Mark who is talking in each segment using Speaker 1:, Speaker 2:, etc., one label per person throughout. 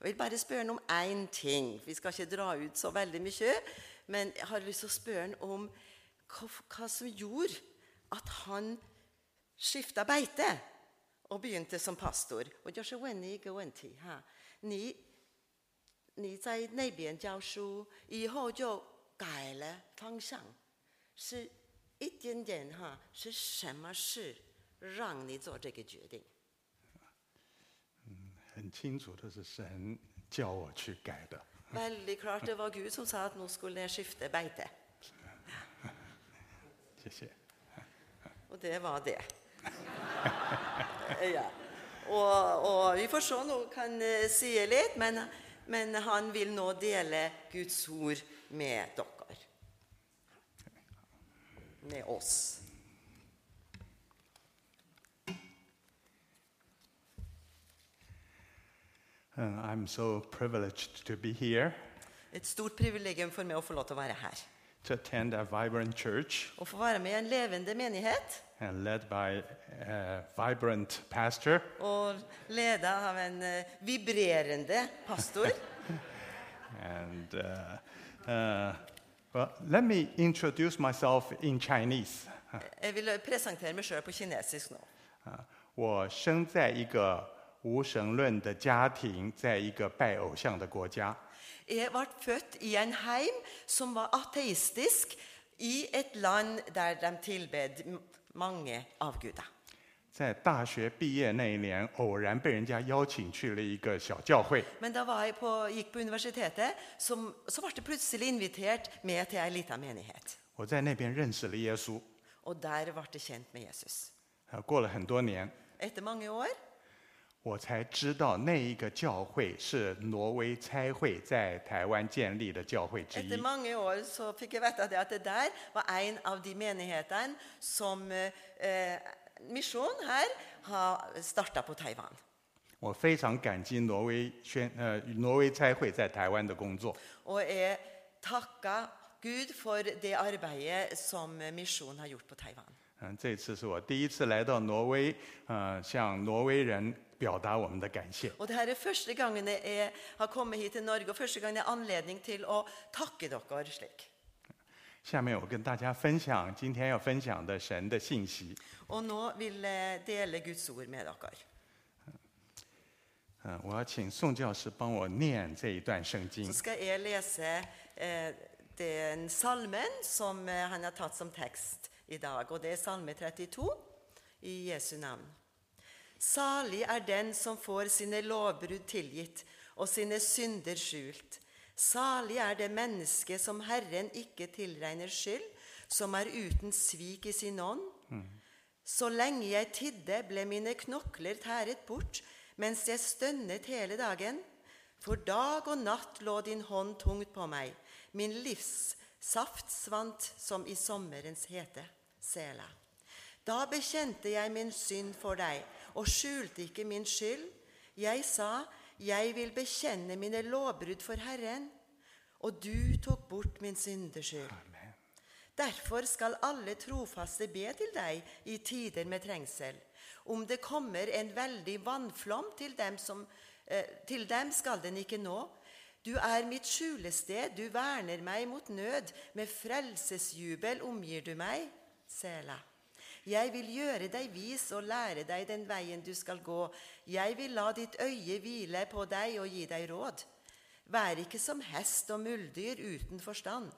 Speaker 1: Jeg vil bare spørre han om én ting. Vi skal ikke dra ut så veldig mye. Men jeg har lyst til å spørre han om hva, hva som gjorde at han skifta beite og begynte som pastor.我就是问你一个问题哈，你你在那边教书以后就改了方向，是一点点哈，是什么事让你做这个决定？
Speaker 2: 很清楚的是神叫我去改的。
Speaker 1: Veldig klart det var Gud som sa at nå skulle jeg skifte beite.
Speaker 2: 谢谢。
Speaker 1: Og det var det. ja. Og, og vi får se nå kan eh, si litt, men, men han vil nå dele Guds ord med dere. Med oss.
Speaker 2: And 嗯 I'm so privileged to be here
Speaker 1: Et stort privilegium for meg å få lov til å være her.
Speaker 2: to attend a vibrant church
Speaker 1: Å få være med i en levende menighet
Speaker 2: and led by a vibrant pastor.
Speaker 1: og leda av en eh, vibrerende pastor.
Speaker 2: And uh, uh, well, let me introduce myself in Chinese.
Speaker 1: Jeg vil presentere meg sjøl på kinesisk nå.
Speaker 2: 啊，我生在一个无神论的家庭，在一个拜偶像的国家。
Speaker 1: Jeg ble født i en heim som var ateistisk, i et land der de tilbed m- mange avguder.
Speaker 2: 在大学毕业那一年，偶然被人家邀请去了一个小教会，
Speaker 1: Men da var jeg på, gikk på universitetet, som, så ble jeg plutselig invitert med til ei lita menighet.
Speaker 2: 我在那边认识了耶稣。
Speaker 1: Og der ble jeg kjent med Jesus.
Speaker 2: 啊，过了很多年，
Speaker 1: Etter mange år
Speaker 2: 我才知道那一个教会是挪威差会在台湾建立的教会之一
Speaker 1: etter。mange år så fikk jeg vite det at det der var en av de menighetene som eh, eh, Misjon her har starta på Taiwan.
Speaker 2: 我非常感激挪威宣呃挪威差会在台湾的工作。
Speaker 1: Og jeg takker Gud for det arbeidet som misjonen har gjort på Taiwan.
Speaker 2: 嗯，这次是我第一次来到挪威，呃，向挪威人表达我们的感谢。
Speaker 1: Og det her er første gangen jeg er- har kommet hit til Norge, og første gangen jeg har anledning til å takke dere slik.
Speaker 2: 下面我跟大家分享今天要分享的神的信息。
Speaker 1: Og nå vil jeg dele Guds ord med dere.
Speaker 2: 嗯、我要请宋教师帮我念这一段圣经
Speaker 1: Så。skal jeg lese eh, den salmen som eh, han har tatt som tekst i dag. Og det er salme 32 i Jesu navn. Salig er den som får sine lovbrudd tilgitt og sine synder skjult. Salig er det menneske som Herren ikke tilregner skyld, som er uten svik i sin ånd. Så lenge jeg tidde, ble mine knokler tæret bort, mens jeg stønnet hele dagen. For dag og natt lå din hånd tungt på meg, min livs saft svant som i sommerens hete. Sela. Da bekjente jeg min synd for deg, og skjulte ikke min skyld. Jeg sa, jeg vil bekjenne mine lovbrudd for Herren, og du tok bort min syndeskyld. Derfor skal alle trofaste be til deg i tider med trengsel. Om det kommer en veldig vannflom til dem, som, eh, til dem skal den ikke nå. Du er mitt skjulested, du verner meg mot nød. Med frelsesjubel omgir du meg. Sela. Jeg vil gjøre deg vis og lære deg den veien du skal gå. Jeg vil la ditt øye hvile på deg og gi deg råd. Vær ikke som hest og muldyr uten forstand.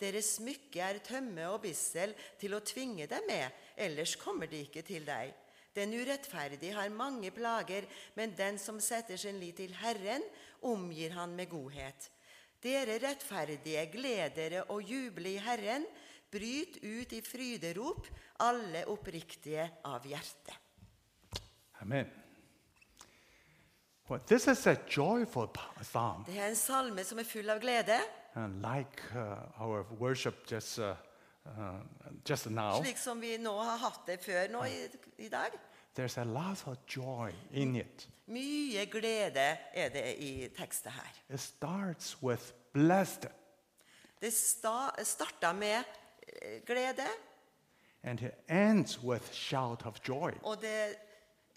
Speaker 1: Deres smykke er tømme og bissel til å tvinge dem med, ellers kommer de ikke til deg. Den urettferdige har mange plager, men den som setter sin lit til Herren, omgir han med godhet. Dere rettferdige, gled dere og juble i Herren. Bryt ut i fryderop, alle oppriktige av hjerte.
Speaker 2: Amen. Well, this is a joyful p- psalm,
Speaker 1: Det er en salme som er full av glede.
Speaker 2: and like uh, our worship just uh, uh, just now.
Speaker 1: Slik som vi nå har hatt det før nå i, i dag.
Speaker 2: There's a lot of joy in it.
Speaker 1: Mye glede er det i tekstet her.
Speaker 2: It starts with blessed,
Speaker 1: Det sta, starta med eh, glede,
Speaker 2: and it ends with shout of joy.
Speaker 1: og det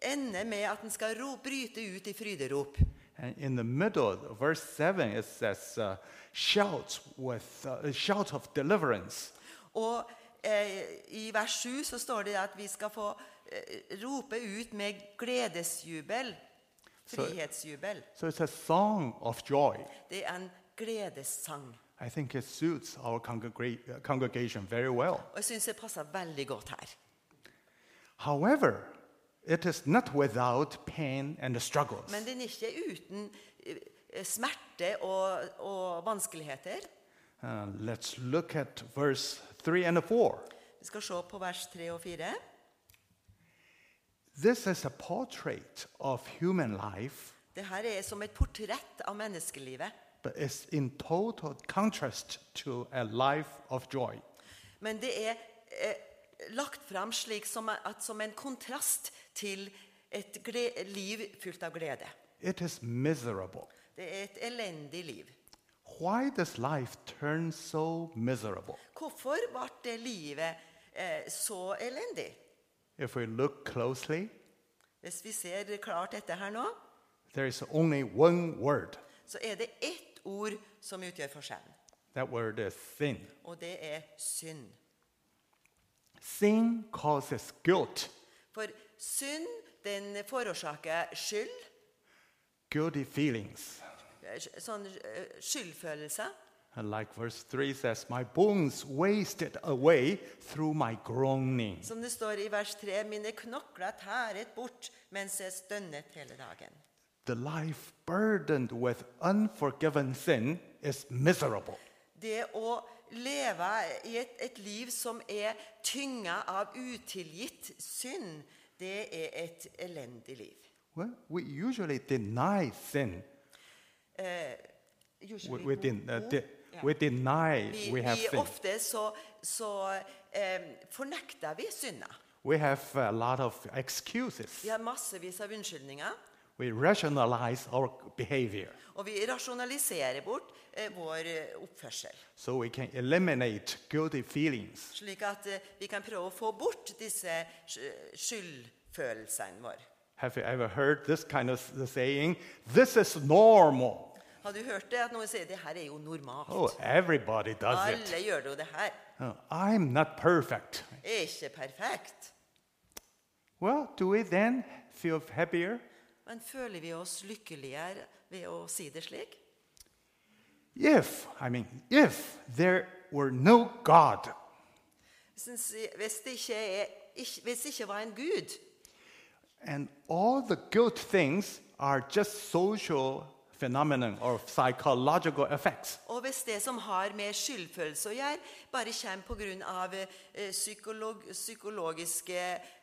Speaker 1: ender med at en skal ro, bryte ut i fryderop.
Speaker 2: And in the middle, verse 7, it says, uh, shout, with, uh, a shout of deliverance.
Speaker 1: Og eh, i vers 7 så står det at vi skal få eh, rope ut med gledesjubel.
Speaker 2: Så-
Speaker 1: Frihetsjubel.
Speaker 2: So it's a song of joy.
Speaker 1: Det er en gledessang.
Speaker 2: I think it suits our congrega- uh, congregation very well.
Speaker 1: Og jeg syns det passer veldig godt her.
Speaker 2: However, it is not without pain and struggles.
Speaker 1: Men den er ikke uten eh, smerte og, og vanskeligheter.
Speaker 2: Uh, let's look at verse 3 and 4.
Speaker 1: Vi skal se på vers 3 og 4.
Speaker 2: This is a portrait of human life,
Speaker 1: Det her er som et portrett av menneskelivet.
Speaker 2: but it's in total contrast to a life of joy.
Speaker 1: Men det er eh, lagt fram slik som, at, som en kontrast til et gle- liv fullt av glede.
Speaker 2: It is miserable.
Speaker 1: Det er et elendig liv.
Speaker 2: Why does life turn so miserable?
Speaker 1: Hvorfor ble det livet eh, så elendig?
Speaker 2: If we look closely,
Speaker 1: Hvis vi ser klart etter her nå,
Speaker 2: there is only one word.
Speaker 1: så er det ett ord som utgjør forskjellen.
Speaker 2: That word is sin.
Speaker 1: Og det er synd.
Speaker 2: Sin causes guilt.
Speaker 1: For synd den forårsaker skyld,
Speaker 2: Guilty feelings.
Speaker 1: eh, sj- sånn eh, skyldfølelse.
Speaker 2: And like verse 3 says, My bones wasted away through my groaning.
Speaker 1: Som det står i vers 3.: Mine knokler tæret bort mens jeg stønnet hele dagen.
Speaker 2: The life burdened with unforgiven sin is miserable.
Speaker 1: Det å leve i et, et liv som er tynga av utilgitt synd, det er et elendig liv.
Speaker 2: Well, we usually deny sin. We, we, den- uh, de-
Speaker 1: Ja.
Speaker 2: we deny
Speaker 1: Vi,
Speaker 2: we have
Speaker 1: vi
Speaker 2: sin.
Speaker 1: ofte så, så eh, fornekter vi synda.
Speaker 2: We have a lot of excuses.
Speaker 1: Vi har massevis av unnskyldninger,
Speaker 2: We rationalize our behavior
Speaker 1: og vi rasjonaliserer bort eh, vår eh, oppførsel.
Speaker 2: so we can eliminate guilty feelings.
Speaker 1: Slik at eh, vi kan prøve å få bort disse sky- skyldfølelsene våre.
Speaker 2: Have you ever heard this kind of s- saying? This is normal.
Speaker 1: Har du hørt det? At noen sier det her er jo normalt.
Speaker 2: Oh, everybody does it.
Speaker 1: Alle gjør jo det her.
Speaker 2: Oh, I'm not perfect.
Speaker 1: er ikke perfekt.
Speaker 2: Well, do we then feel happier?
Speaker 1: Men føler vi oss lykkeligere ved å si det slik?
Speaker 2: If, I mean, if there were no God,
Speaker 1: Hvis en si- hvis det ikke, er, ikk- hvis det ikke var en gud,
Speaker 2: and all the good things are just social phenomenon or psychological effects,
Speaker 1: og hvis det som har med skyldfølelse å gjøre, bare kommer pga. eh, Psykolog, psykologiske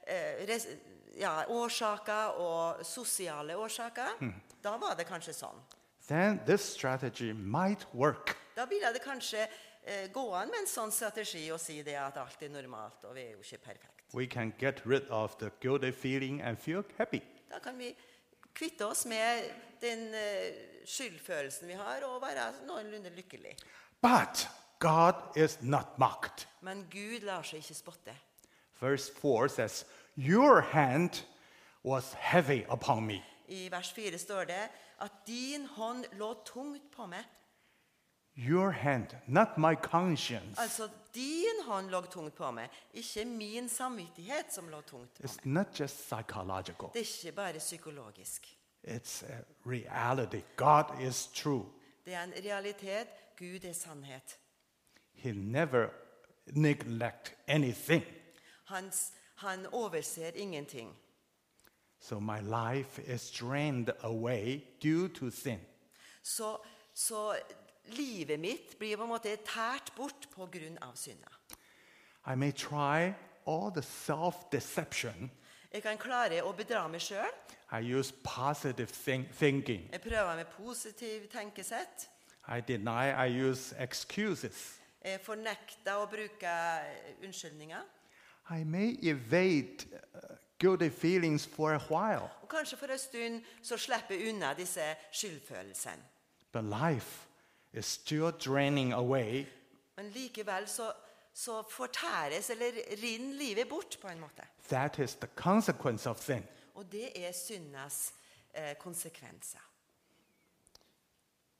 Speaker 1: eh, res, ja, årsaker og sosiale årsaker, da var det kanskje sånn.
Speaker 2: then this strategy might work.
Speaker 1: Da ville det kanskje eh, gå an med en sånn strategi å si det at alt er normalt, og vi er jo ikke perfekt.
Speaker 2: We can get rid of the guilty feeling and feel happy.
Speaker 1: Da kan vi kvitte oss med den eh, skyldfølelsen vi har, og være noenlunde lykkelig.
Speaker 2: But God is not mocked.
Speaker 1: Men Gud lar seg ikke spotte.
Speaker 2: Verse 4 says, Your hand was heavy upon me.
Speaker 1: I vers 4 står det at 'din hånd lå tungt på meg'.
Speaker 2: Your hand, not my conscience.
Speaker 1: Altså, din hånd lå tungt på meg, ikke min samvittighet som lå tungt på
Speaker 2: It's
Speaker 1: meg.
Speaker 2: not just psychological,
Speaker 1: Det er ikke bare psykologisk.
Speaker 2: it's a reality. God is true.
Speaker 1: Det er en realitet. Gud er sannhet.
Speaker 2: He never neglect anything.
Speaker 1: Hans, han overser ingenting.
Speaker 2: So my life is drained away due to sin.
Speaker 1: Så, så livet mitt blir på en måte tært bort pga. synda.
Speaker 2: I may try all the self deception.
Speaker 1: Jeg kan klare å bedra meg sjøl.
Speaker 2: I use positive think- thinking.
Speaker 1: Jeg prøver med positiv tenkesett.
Speaker 2: I deny, I use excuses.
Speaker 1: Jeg fornekter å bruke eh, unnskyldninger.
Speaker 2: I may evade uh, guilty feelings for a while,
Speaker 1: Og kanskje for en stund så slipper jeg unna disse skyldfølelsene.
Speaker 2: but life is still draining away
Speaker 1: Men likevel så, så fortæres eller rinner livet bort, på en måte.
Speaker 2: That is the consequence of sin.
Speaker 1: Og det er syndas eh, konsekvenser.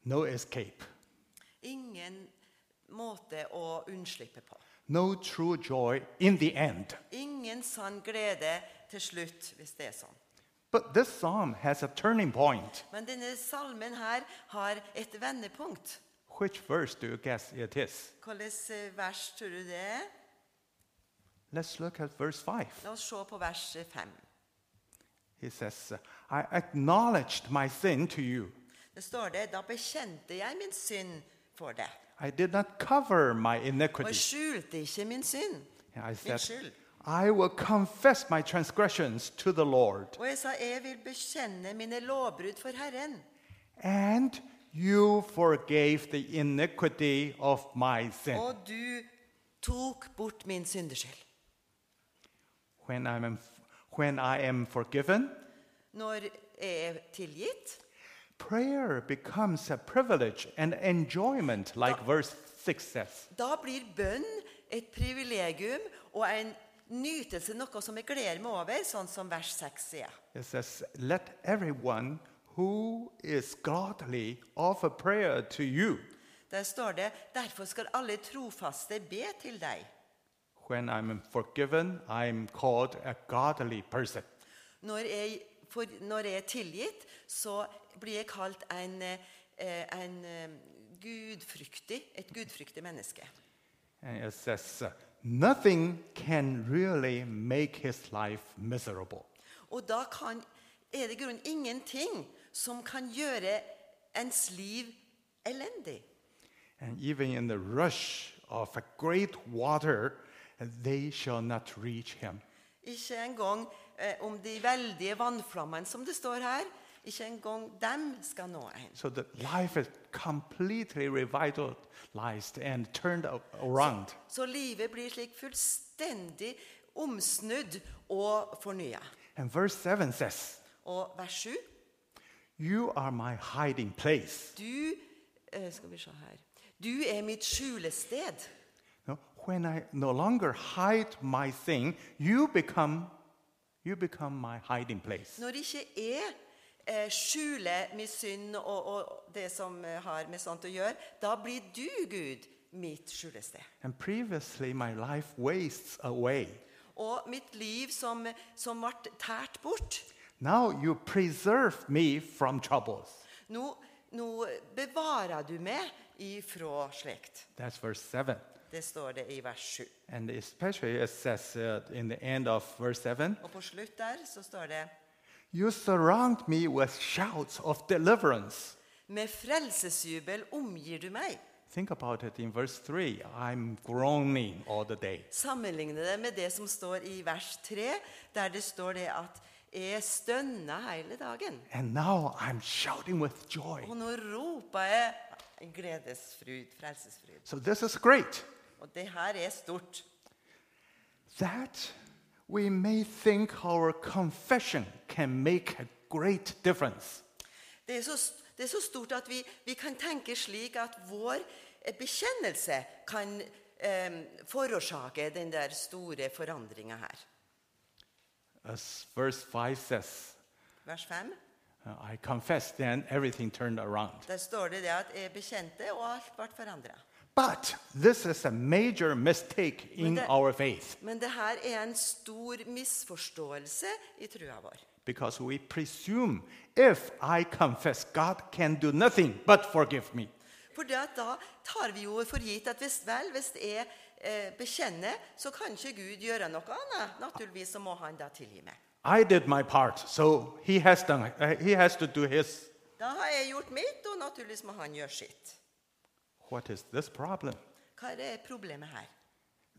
Speaker 2: no escape,
Speaker 1: Ingen måte å unnslippe på.
Speaker 2: no true joy in the end.
Speaker 1: Ingen sann glede til slutt, hvis det er sånn.
Speaker 2: But this psalm has a turning point.
Speaker 1: Men denne salmen her har et vendepunkt.
Speaker 2: Which verse do you guess it is?
Speaker 1: Hvilket eh, vers tror du det er?
Speaker 2: Let's look at verse 5.
Speaker 1: La oss se på vers 5.
Speaker 2: He says, I acknowledged my sin to you.
Speaker 1: Det står det, da bekjente jeg min synd for deg,
Speaker 2: I did not cover my
Speaker 1: og
Speaker 2: iniquity.
Speaker 1: skjulte ikke min synd.
Speaker 2: And I
Speaker 1: Min
Speaker 2: said,
Speaker 1: skyld.
Speaker 2: I will confess my transgressions to the Lord,
Speaker 1: Og jeg sa, jeg vil bekjenne mine lovbrudd for Herren.
Speaker 2: and you forgave the iniquity of my sin.
Speaker 1: Og du tok bort min syndeskyld.
Speaker 2: When I am, when I am forgiven,
Speaker 1: Når jeg er tilgitt,
Speaker 2: prayer becomes a privilege and enjoyment, like verse 6 says.
Speaker 1: da blir bønn et privilegium og en nytelse, noe som jeg gleder meg over, sånn som vers 6 sier.
Speaker 2: It says, Let everyone who is godly offer prayer to you.
Speaker 1: Der står det, derfor skal alle trofaste be til deg.
Speaker 2: When I'm forgiven, I'm called a godly person.
Speaker 1: Når jeg, for, når jeg er tilgitt, så blir jeg kalt en, eh, en eh, gudfryktig, et gudfryktig menneske.
Speaker 2: And it says, uh, nothing can really make his life miserable.
Speaker 1: Og da kan, er det i grunnen ingenting som kan gjøre ens liv elendig.
Speaker 2: And even in the rush of a great water, they shall not reach him.
Speaker 1: Ikke engang eh, om de veldige vannflammene som det står her, ikke engang dem skal nå en.
Speaker 2: So the life is completely revitalized and turned a- around.
Speaker 1: Så livet blir slik fullstendig omsnudd og fornya.
Speaker 2: And verse 7 says,
Speaker 1: Og vers 7
Speaker 2: You are my hiding place.
Speaker 1: Du eh, Skal vi se her Du er mitt skjulested.
Speaker 2: No, When I no longer hide my sin, you become, you become my hiding place.
Speaker 1: Når ikke jeg eh, skjuler min synd og, og det som eh, har med sånt å gjøre, da blir du, Gud, mitt skjulested.
Speaker 2: And previously, my life wastes away.
Speaker 1: Og mitt liv som, som ble tært bort.
Speaker 2: Now you preserve me from troubles.
Speaker 1: Nå, nå bevarer du meg ifra slikt.
Speaker 2: That's verse 7.
Speaker 1: Det står det i vers 7.
Speaker 2: And especially it says uh, in the end of verse 7
Speaker 1: Og på slutt der så står det
Speaker 2: You surround me with shouts of deliverance.
Speaker 1: Med frelsesjubel omgir du meg.
Speaker 2: Think about it in verse 3 I'm groaning all the day.
Speaker 1: Sammenligne det med det som står i vers 3, der det står det at jeg stønna hele dagen.
Speaker 2: And now I'm shouting with joy.
Speaker 1: Og nå ropa jeg gledesfryd, frelsesfryd.
Speaker 2: So this is great.
Speaker 1: Og det her er stort.
Speaker 2: That we may think our confession can make a great difference.
Speaker 1: Det er så, st- det er så stort at vi, vi kan tenke slik at vår eh, bekjennelse kan eh, forårsake den der store forandringa her.
Speaker 2: As verse 5 says,
Speaker 1: Vers 5.
Speaker 2: uh, I confess, then everything turned around.
Speaker 1: Der står det det at jeg bekjente, og alt ble forandra.
Speaker 2: But this is a major mistake in
Speaker 1: that-
Speaker 2: our faith
Speaker 1: Men det her er en stor misforståelse i trua vår.
Speaker 2: because we presume if I confess, God can do nothing but forgive me.
Speaker 1: For det at da tar vi jo for gitt at hvis vel, hvis jeg eh, bekjenner, så kan ikke Gud gjøre noe annet. Naturligvis så må han da tilgi meg.
Speaker 2: I did my part, so he has, done, uh, he has to do his.
Speaker 1: Da har jeg gjort mitt, og naturligvis må han gjøre sitt.
Speaker 2: What is this problem?
Speaker 1: Hva er det problemet her?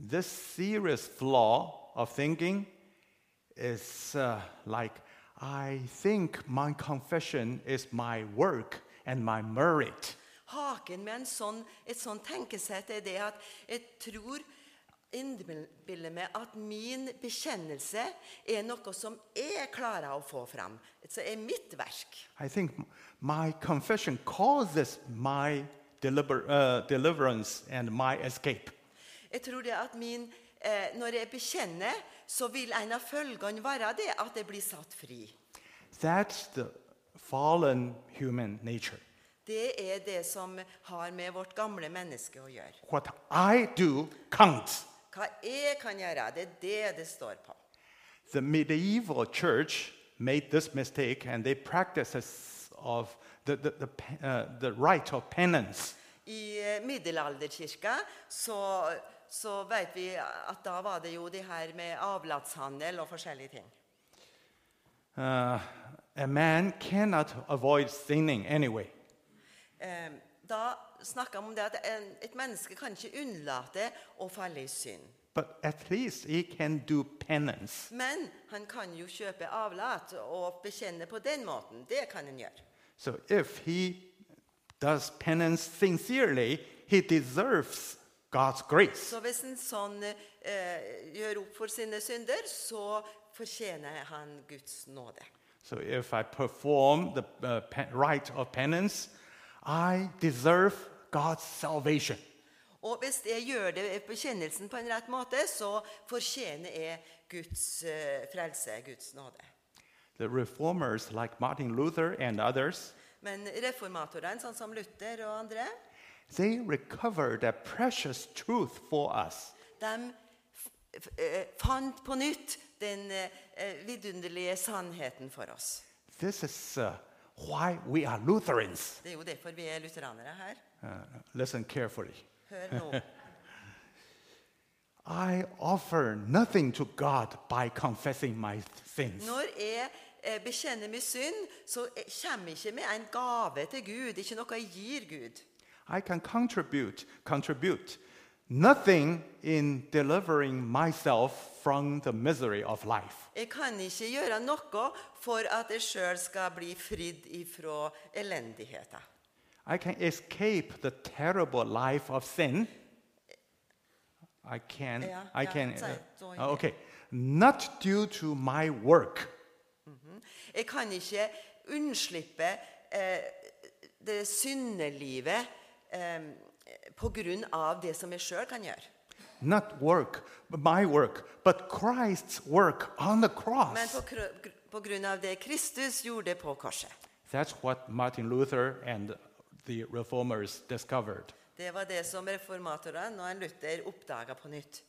Speaker 2: This serious flaw of thinking is uh, like, I think my confession is my work and my merit.
Speaker 1: Haken med en sånn, et sånn tenkesett er det at jeg tror innbiller meg at min bekjennelse er noe som jeg klarer å få fram. Så er mitt verk.
Speaker 2: I think m- my confession causes my deliber- uh, deliverance and my escape.
Speaker 1: Jeg tror det at min, eh, Når jeg bekjenner, så vil en av følgene være det at jeg blir satt fri.
Speaker 2: That's the fallen human nature.
Speaker 1: Det er det som har med vårt gamle menneske å gjøre.
Speaker 2: What I do counts.
Speaker 1: Hva jeg kan gjøre, det er det det står på.
Speaker 2: The medieval church made this mistake and they practiced this of the, the, the, pe- uh, the rite of penance.
Speaker 1: I eh, middelalderkirka så, så vet vi at da var det jo det her med avlatshandel og forskjellige ting.
Speaker 2: Uh, a man cannot avoid sinning anyway.
Speaker 1: Eh, Da snakka han om det at en- et menneske kan ikke unnlate å falle i synd.
Speaker 2: But at least he can do penance.
Speaker 1: Men han kan jo kjøpe avlat og bekjenne på den måten. Det kan han gjøre.
Speaker 2: So if he does penance sincerely, he deserves God's grace.
Speaker 1: Så hvis en sånn eh, gjør opp for sine synder, så fortjener han Guds nåde.
Speaker 2: So if I perform the uh, pe- rite of penance, I deserve God's salvation.
Speaker 1: Og hvis jeg gjør det bekjennelsen på en rett måte, så fortjener jeg Guds eh, frelse, Guds nåde.
Speaker 2: The reformers like Martin Luther and others,
Speaker 1: Men reformatorene, sånn som Luther og andre,
Speaker 2: they recovered a precious truth for us.
Speaker 1: de f- f- eh, fant på nytt den eh, vidunderlige sannheten for oss.
Speaker 2: This is uh, why we are Lutherans.
Speaker 1: Det er jo derfor vi er lutheranere her.
Speaker 2: Uh, listen carefully.
Speaker 1: Hør nå.
Speaker 2: I offer nothing to God by confessing my sins.
Speaker 1: Når jeg eh, bekjenner min synd, så eh, kommer jeg ikke med en gave til Gud. Ikke noe jeg gir Gud.
Speaker 2: I can contribute, contribute nothing in delivering myself from the misery of life.
Speaker 1: Jeg kan ikke gjøre noe for at jeg sjøl skal bli fridd ifra elendigheten.
Speaker 2: I can escape the terrible life of sin. I can,
Speaker 1: Yeah,
Speaker 2: I
Speaker 1: yeah,
Speaker 2: can,
Speaker 1: it's
Speaker 2: uh,
Speaker 1: a- it's all in
Speaker 2: uh,
Speaker 1: there.
Speaker 2: okay, not due to my work.
Speaker 1: Jeg kan ikke unnslippe eh, det syndelivet eh, på grunn av det som jeg sjøl kan gjøre.
Speaker 2: Not work, my work, but Christ's work on the
Speaker 1: Men på,
Speaker 2: cross.
Speaker 1: kr- på grunn av det Kristus gjorde på korset.
Speaker 2: That's what Martin Luther and the reformers discovered.
Speaker 1: Det var det som reformatorene og en Luther oppdaga på nytt.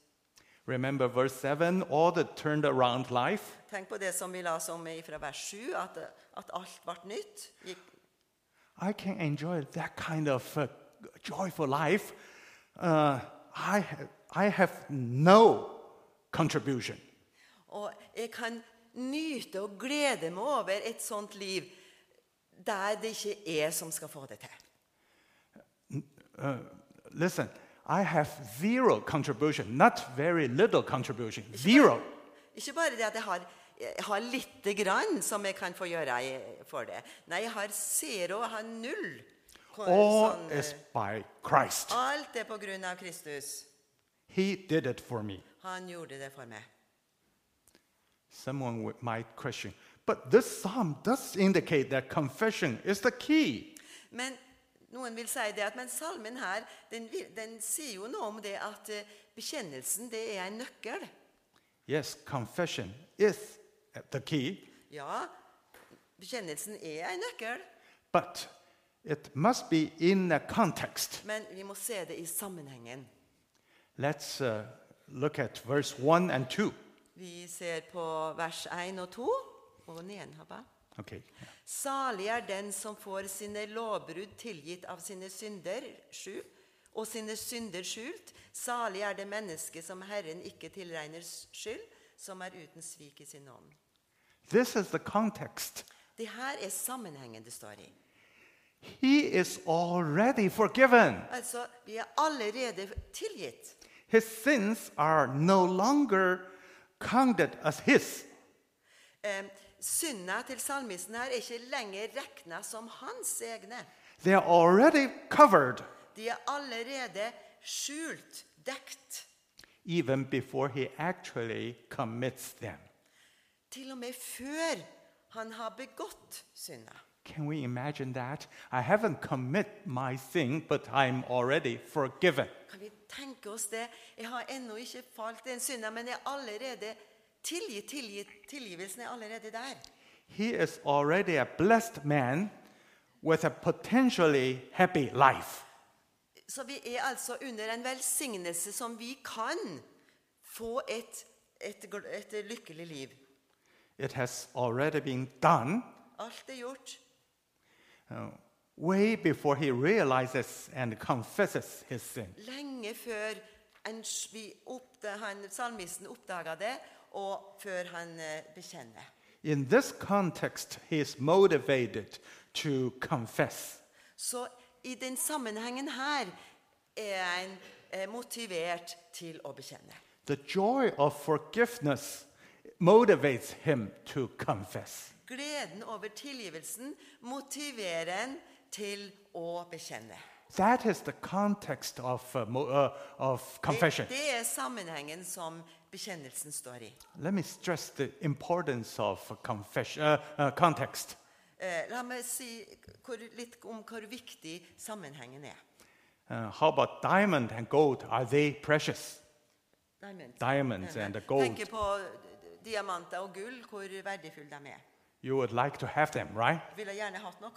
Speaker 2: Remember verse 7 all the turned around life?
Speaker 1: Tenk på det som vi la som fra vers 7, at, at alt ble nytt. Gikk,
Speaker 2: I can enjoy that kind of uh, joyful life. Uh, I, ha- I have no contribution.
Speaker 1: og jeg kan nyte og glede meg over et sånt liv der det ikke er jeg som skal få det til.
Speaker 2: Listen, I have zero contribution, not very little contribution, zero.
Speaker 1: Ikke bare det at jeg har, jeg har lite grann som jeg kan få gjøre i- for det. Nei, jeg har zero, jeg har null. Hvor-
Speaker 2: All
Speaker 1: sånn,
Speaker 2: is
Speaker 1: eh,
Speaker 2: by Christ.
Speaker 1: alt er på grunn av Kristus.
Speaker 2: He did it for me.
Speaker 1: Han gjorde det for meg.
Speaker 2: Someone wi- might question, but this psalm does indicate that confession is the key.
Speaker 1: Men noen vil si det at men salmen her, den, vi- den sier jo noe om det at eh, bekjennelsen, det er en nøkkel.
Speaker 2: Yes, confession is uh, the key,
Speaker 1: Ja, bekjennelsen er en nøkkel,
Speaker 2: but it must be in a context.
Speaker 1: men vi må se det i sammenhengen.
Speaker 2: Let's uh, look at verse 1 and 2.
Speaker 1: Vi ser på vers 1 og 2, og ned, hva?
Speaker 2: Okay.
Speaker 1: Salig er den som får sine lovbrudd tilgitt av sine synder sju, og sine synder skjult. Salig er det menneske som Herren ikke tilregner skyld, som er uten svik i sin ånd.
Speaker 2: This is the context.
Speaker 1: Det her er sammenhengen det står i.
Speaker 2: He is already forgiven.
Speaker 1: Altså, vi er allerede tilgitt.
Speaker 2: His sins are no longer counted as his.
Speaker 1: Eh, Synda til salmisten her er ikke lenger regna som hans egne.
Speaker 2: They are already covered
Speaker 1: De er allerede skjult, dekt.
Speaker 2: even before he actually commits them.
Speaker 1: Til og med før han har begått synda.
Speaker 2: Can we imagine that? I haven't commit my sin, but I'm already forgiven.
Speaker 1: Kan vi tenke oss det? Jeg har ennå ikke falt i en synda, men jeg er allerede tilgitt, tilgitt. Tilgivelsen er allerede der.
Speaker 2: He is already a blessed man with a potentially happy life.
Speaker 1: Så vi er altså under en velsignelse som vi kan få et, et, gl- et lykkelig liv.
Speaker 2: It has already been done
Speaker 1: Alt er gjort
Speaker 2: uh, way before he realizes and confesses his sin.
Speaker 1: lenge før en, s- vi oppda, han, salmisten oppdaga det, og før han eh, bekjenner.
Speaker 2: In this context, he is motivated to confess.
Speaker 1: Så i den sammenhengen her er en eh, motivert til å bekjenne.
Speaker 2: The joy of forgiveness motivates him to confess.
Speaker 1: Gleden over tilgivelsen motiverer en til å bekjenne.
Speaker 2: That is the context of, uh, mo- uh, of confession.
Speaker 1: Det, det er sammenhengen som bekjennelsen står i.
Speaker 2: Let me stress the importance of confession, uh, uh, context.
Speaker 1: Eh, la meg si hvor, litt om hvor viktig sammenhengen er.
Speaker 2: Uh, how about diamond and gold? Are they precious?
Speaker 1: Diamonds,
Speaker 2: Diamonds and the gold.
Speaker 1: Tenker på diamanter og gull, hvor verdifulle de er.
Speaker 2: You would like to have them, right?
Speaker 1: Ville gjerne hatt noe.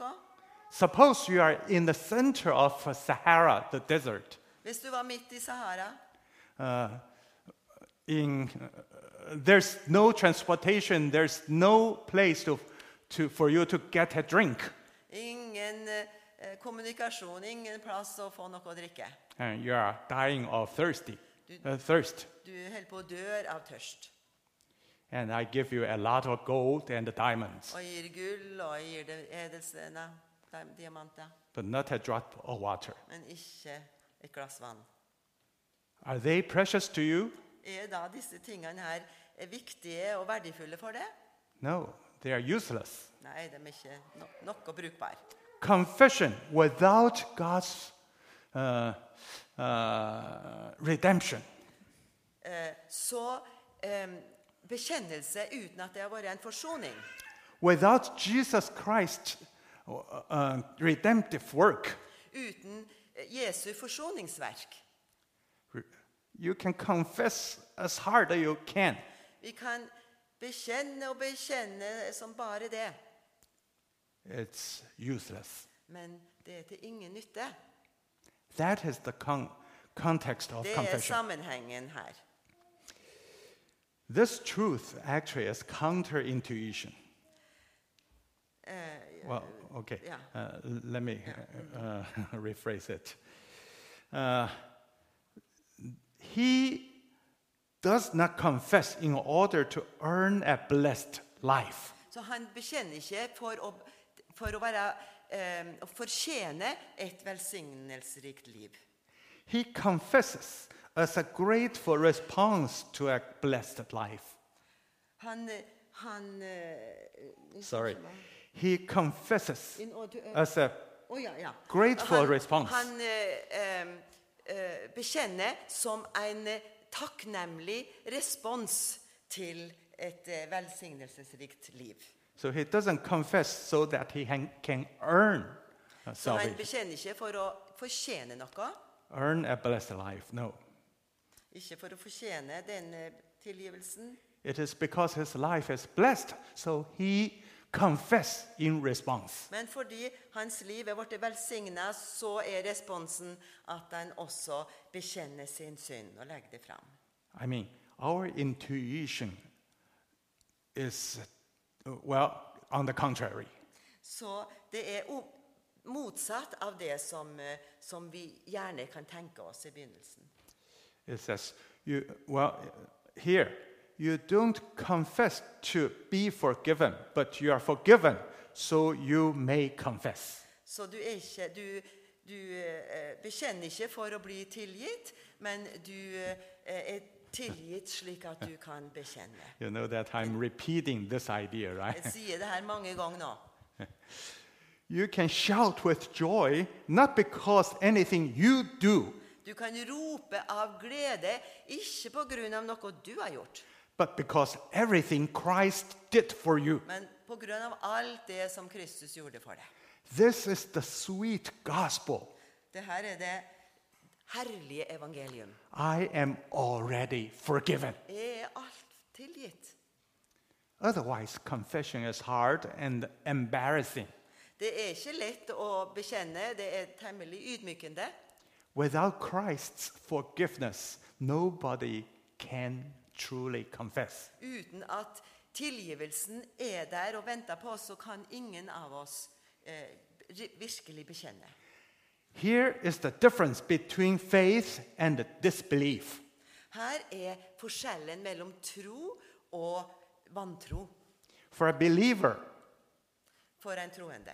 Speaker 2: Suppose you are in the center of uh, Sahara, the desert.
Speaker 1: Hvis du var midt i Sahara,
Speaker 2: uh, in, uh, there's no transportation, there's no place to, to, for you to get a drink.
Speaker 1: ingen eh, kommunikasjon, ingen plass å få noe å drikke.
Speaker 2: And you are dying of thirsty, uh, thirst.
Speaker 1: Du holder på å dø av tørst.
Speaker 2: And I give you a lot of gold and diamonds,
Speaker 1: Og gir gull, og gir det edelstener, di- diamanter,
Speaker 2: but not a drop of water.
Speaker 1: men ikke et glass vann.
Speaker 2: Are they precious to you?
Speaker 1: Er da disse tingene her eh, viktige og verdifulle for deg?
Speaker 2: No, they are useless.
Speaker 1: Nei, de er ikke no noe brukbare.
Speaker 2: Confession without God's uh, uh, redemption
Speaker 1: Så eh, bekjennelse uten at det har vært en forsoning,
Speaker 2: Without Jesus Christ's uh, redemptive work,
Speaker 1: uten eh, Jesu forsoningsverk
Speaker 2: you can confess as hard as you can,
Speaker 1: Vi kan bekjenne og bekjenne som bare det,
Speaker 2: it's useless.
Speaker 1: men det er til ingen nytte.
Speaker 2: That is the con- context of
Speaker 1: Det er
Speaker 2: confession.
Speaker 1: sammenhengen her.
Speaker 2: this truth actually is counterintuition.
Speaker 1: Eh,
Speaker 2: Well, okay.
Speaker 1: yeah.
Speaker 2: Uh, l- let me uh, uh, rephrase it. Uh, he does not confess in order to earn a blessed life.
Speaker 1: Så han bekjenner ikke for å, for å være eh, å fortjene et velsignelsesrikt liv.
Speaker 2: He confesses as a grateful response to a blessed life.
Speaker 1: Han, eh, han eh,
Speaker 2: Sorry.
Speaker 1: unnskyld meg.
Speaker 2: He confesses
Speaker 1: In order, eh,
Speaker 2: as a
Speaker 1: å ja, ja.
Speaker 2: Grateful
Speaker 1: han,
Speaker 2: response.
Speaker 1: Han eh, em, eh, bekjenner som en eh, takknemlig respons til et eh, velsignelsesrikt liv.
Speaker 2: so he doesn't confess so that he han- can earn a
Speaker 1: Så han
Speaker 2: salvation,
Speaker 1: bekjenner ikke for å fortjene noe,
Speaker 2: earn a blessed life. No,
Speaker 1: ikke for å fortjene denne tilgivelsen.
Speaker 2: it is because his life is blessed, so he confess in response.
Speaker 1: Men fordi hans liv er blitt velsigna, så er responsen at han også bekjenner sin synd og legger det fram.
Speaker 2: I mean, our intuition is uh, well on the contrary.
Speaker 1: Så det er o- motsatt av det som, eh, som vi gjerne kan tenke oss i begynnelsen.
Speaker 2: It says, you, well, here, you don't confess to be forgiven, but you are forgiven, so you may confess.
Speaker 1: Så du, er ikke, du, du eh, bekjenner ikke for å bli tilgitt, men du eh, er tilgitt slik at du kan bekjenne.
Speaker 2: You know that I'm repeating this idea, right?
Speaker 1: Jeg sier det her mange ganger nå.
Speaker 2: You can shout with joy, not because anything you do,
Speaker 1: Du kan rope av glede, ikke på grunn av noe du har gjort,
Speaker 2: but because everything Christ did for you.
Speaker 1: men på grunn av alt det som Kristus gjorde for deg.
Speaker 2: This is the sweet gospel.
Speaker 1: Det her er det herlige evangelium.
Speaker 2: I am already forgiven.
Speaker 1: Jeg er alt tilgitt.
Speaker 2: Otherwise, confession is hard and embarrassing.
Speaker 1: Det er ikke lett å bekjenne. Det er temmelig ydmykende.
Speaker 2: Without Christ's forgiveness, nobody can truly confess.
Speaker 1: Uten at tilgivelsen er der og venter på oss, så kan ingen av oss eh, ri- virkelig bekjenne.
Speaker 2: Here is the difference between faith and disbelief.
Speaker 1: Her er forskjellen mellom tro og vantro
Speaker 2: For a believer,
Speaker 1: for en troende.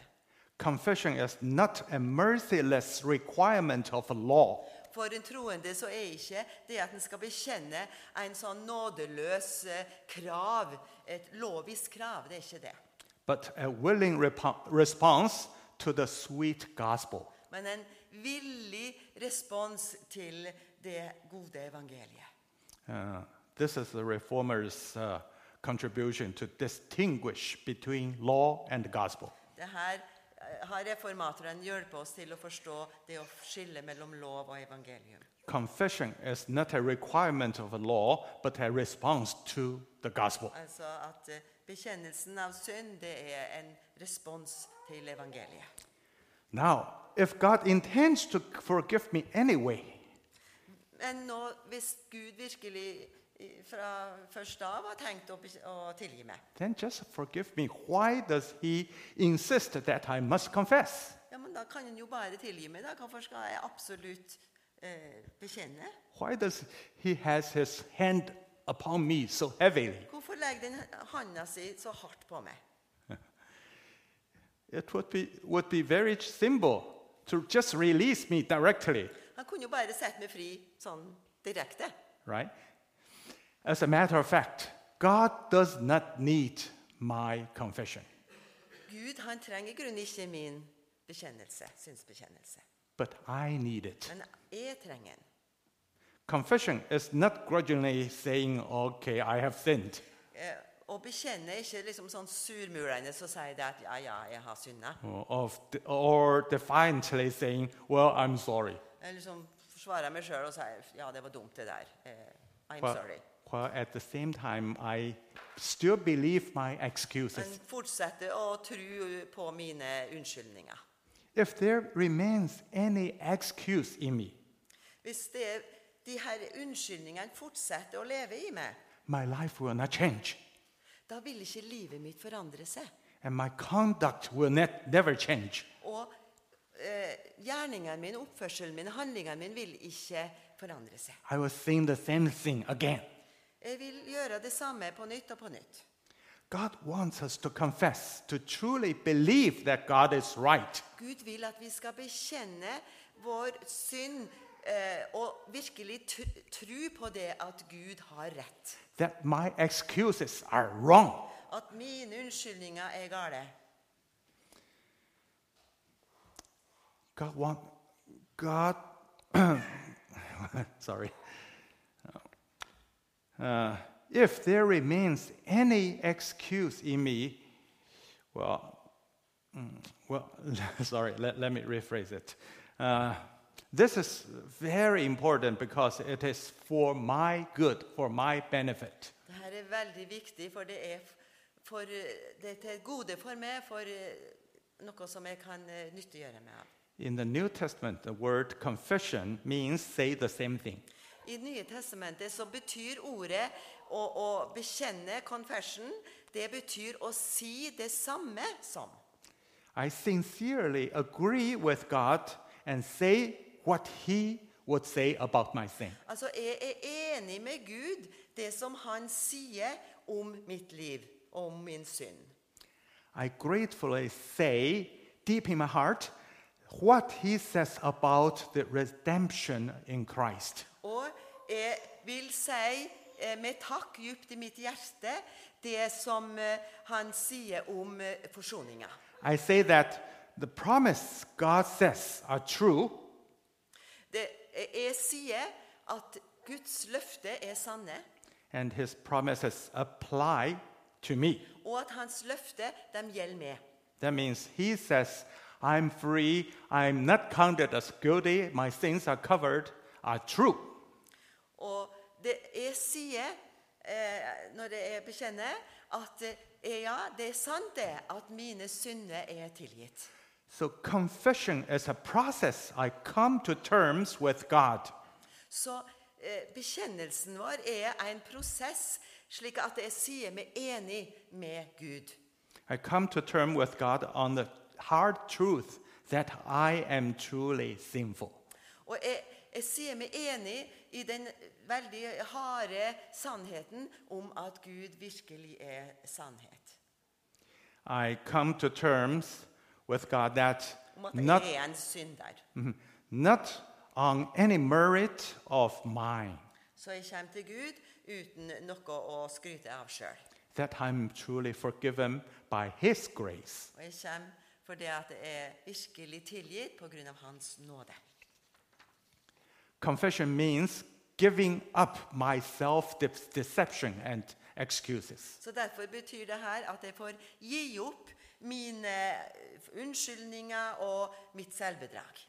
Speaker 2: confession is not a merciless requirement of law.
Speaker 1: For en troende så er ikke det at en skal bekjenne en sånn nådeløs eh, krav, et lovisk krav, det er ikke det.
Speaker 2: but a willing repo- response to the sweet gospel.
Speaker 1: Men en villig respons til det gode evangeliet.
Speaker 2: Uh, this is the reformer's uh, contribution to distinguish between law and gospel.
Speaker 1: Det her eh, har reformatorene hjulpet oss til å forstå det å skille mellom lov og evangelium.
Speaker 2: Confession is not a requirement of a law, but a response to the gospel.
Speaker 1: Altså at eh, bekjennelsen av synd, det er en respons til evangeliet.
Speaker 2: Now, if God intends to forgive me anyway,
Speaker 1: Men nå, hvis Gud virkelig eh, fra først av har tenkt å, be- å tilgi meg,
Speaker 2: then just forgive me. Why does He insist that I must confess?
Speaker 1: ja, men da kan han jo bare tilgi meg. da. Hvorfor skal jeg absolutt eh, bekjenne?
Speaker 2: Why does He has His hand upon me so heavily?
Speaker 1: Hvorfor legger den handa si så hardt på meg?
Speaker 2: It would be, would be very simple to just release me directly,
Speaker 1: Han kunne jo bare sette meg fri sånn direkte.
Speaker 2: right? As a matter of fact, God does not need my confession,
Speaker 1: Gud han trenger i grunnen ikke min bekjennelse, synsbekjennelse.
Speaker 2: but I need it.
Speaker 1: Men jeg trenger den.
Speaker 2: Confession is not grudgingly saying, okay, I have sinned.
Speaker 1: Eh, Å bekjenne er ikke liksom sånn surmulende som sier det at ja, ja, jeg har synda.
Speaker 2: Or, of, or defiantly saying, well, I'm sorry.
Speaker 1: Jeg liksom forsvarer meg sjøl og sier ja, det var dumt, det der. Eh, I'm
Speaker 2: While,
Speaker 1: sorry.
Speaker 2: while at the same time, I still believe my
Speaker 1: Men
Speaker 2: excuses.
Speaker 1: fortsetter å tro på mine unnskyldninger.
Speaker 2: If there remains any excuse in me,
Speaker 1: Hvis det er de her unnskyldningene fortsetter å leve i meg,
Speaker 2: my life will not change
Speaker 1: da vil ikke livet mitt forandre seg.
Speaker 2: and my conduct will ne- never change.
Speaker 1: Og eh, gjerningene mine, oppførselen min, handlingene mine vil ikke forandre seg.
Speaker 2: I will sing the same thing again.
Speaker 1: Jeg vil gjøre det samme på nytt og på nytt.
Speaker 2: God wants us to confess, to truly believe that God is right.
Speaker 1: Gud vil at vi skal bekjenne vår synd eh, og virkelig tr- tro på det at Gud har rett.
Speaker 2: That my excuses are wrong.
Speaker 1: At mine unnskyldninger er gale.
Speaker 2: God want God sorry. Uh, if there remains any excuse in me, well, mm, well, sorry. Let, let me rephrase it. Uh, this is very important because it is for my good, for my benefit.
Speaker 1: Dette er veldig viktig, for det er, f- for, eh, det er til gode for meg, for eh, noe som jeg kan eh, nyttiggjøre meg av.
Speaker 2: In the New Testament, the word confession means say the same thing.
Speaker 1: I Det nye testamentet så betyr ordet å, å bekjenne, confession, det betyr å si det samme som.
Speaker 2: I sincerely agree with God and say what He would say about my sin.
Speaker 1: Altså, jeg er enig med Gud, det som han sier om mitt liv, om min synd.
Speaker 2: I gratefully say, deep in my heart, what He says about the redemption in Christ.
Speaker 1: Og jeg vil si eh, med takk djupt i mitt hjerte det som eh, han sier om eh, forsoninga.
Speaker 2: I say that the promise God says are true,
Speaker 1: Det, jeg sier at Guds løfte er sanne,
Speaker 2: and His promises apply to me.
Speaker 1: og at hans løfte dem gjelder meg.
Speaker 2: That means He says, I'm free, I'm not counted as guilty, my sins are covered, are true.
Speaker 1: Og det jeg sier eh, når jeg bekjenner at eh, ja, det er sant det at mine synder er tilgitt.
Speaker 2: So, confession is a process I come to terms with God.
Speaker 1: Så eh, bekjennelsen vår er en prosess, slik at jeg sier meg enig med Gud.
Speaker 2: I come to terms with God on the hard truth that I am truly sinful.
Speaker 1: Og jeg, jeg sier meg enig i den veldig harde sannheten om at Gud virkelig er sannhet.
Speaker 2: I come to terms with God that
Speaker 1: Om at
Speaker 2: not,
Speaker 1: jeg er en synder.
Speaker 2: mhm, not on any merit of mine,
Speaker 1: Så jeg kommer til Gud uten noe å skryte av sjøl.
Speaker 2: that I'm truly forgiven by His grace.
Speaker 1: Og jeg kommer fordi at jeg er virkelig tilgitt pga. Hans nåde.
Speaker 2: Confession means giving up my self de- deception and excuses.
Speaker 1: Så Derfor betyr det her at jeg får gi opp mine eh, unnskyldninger og mitt selvbedrag.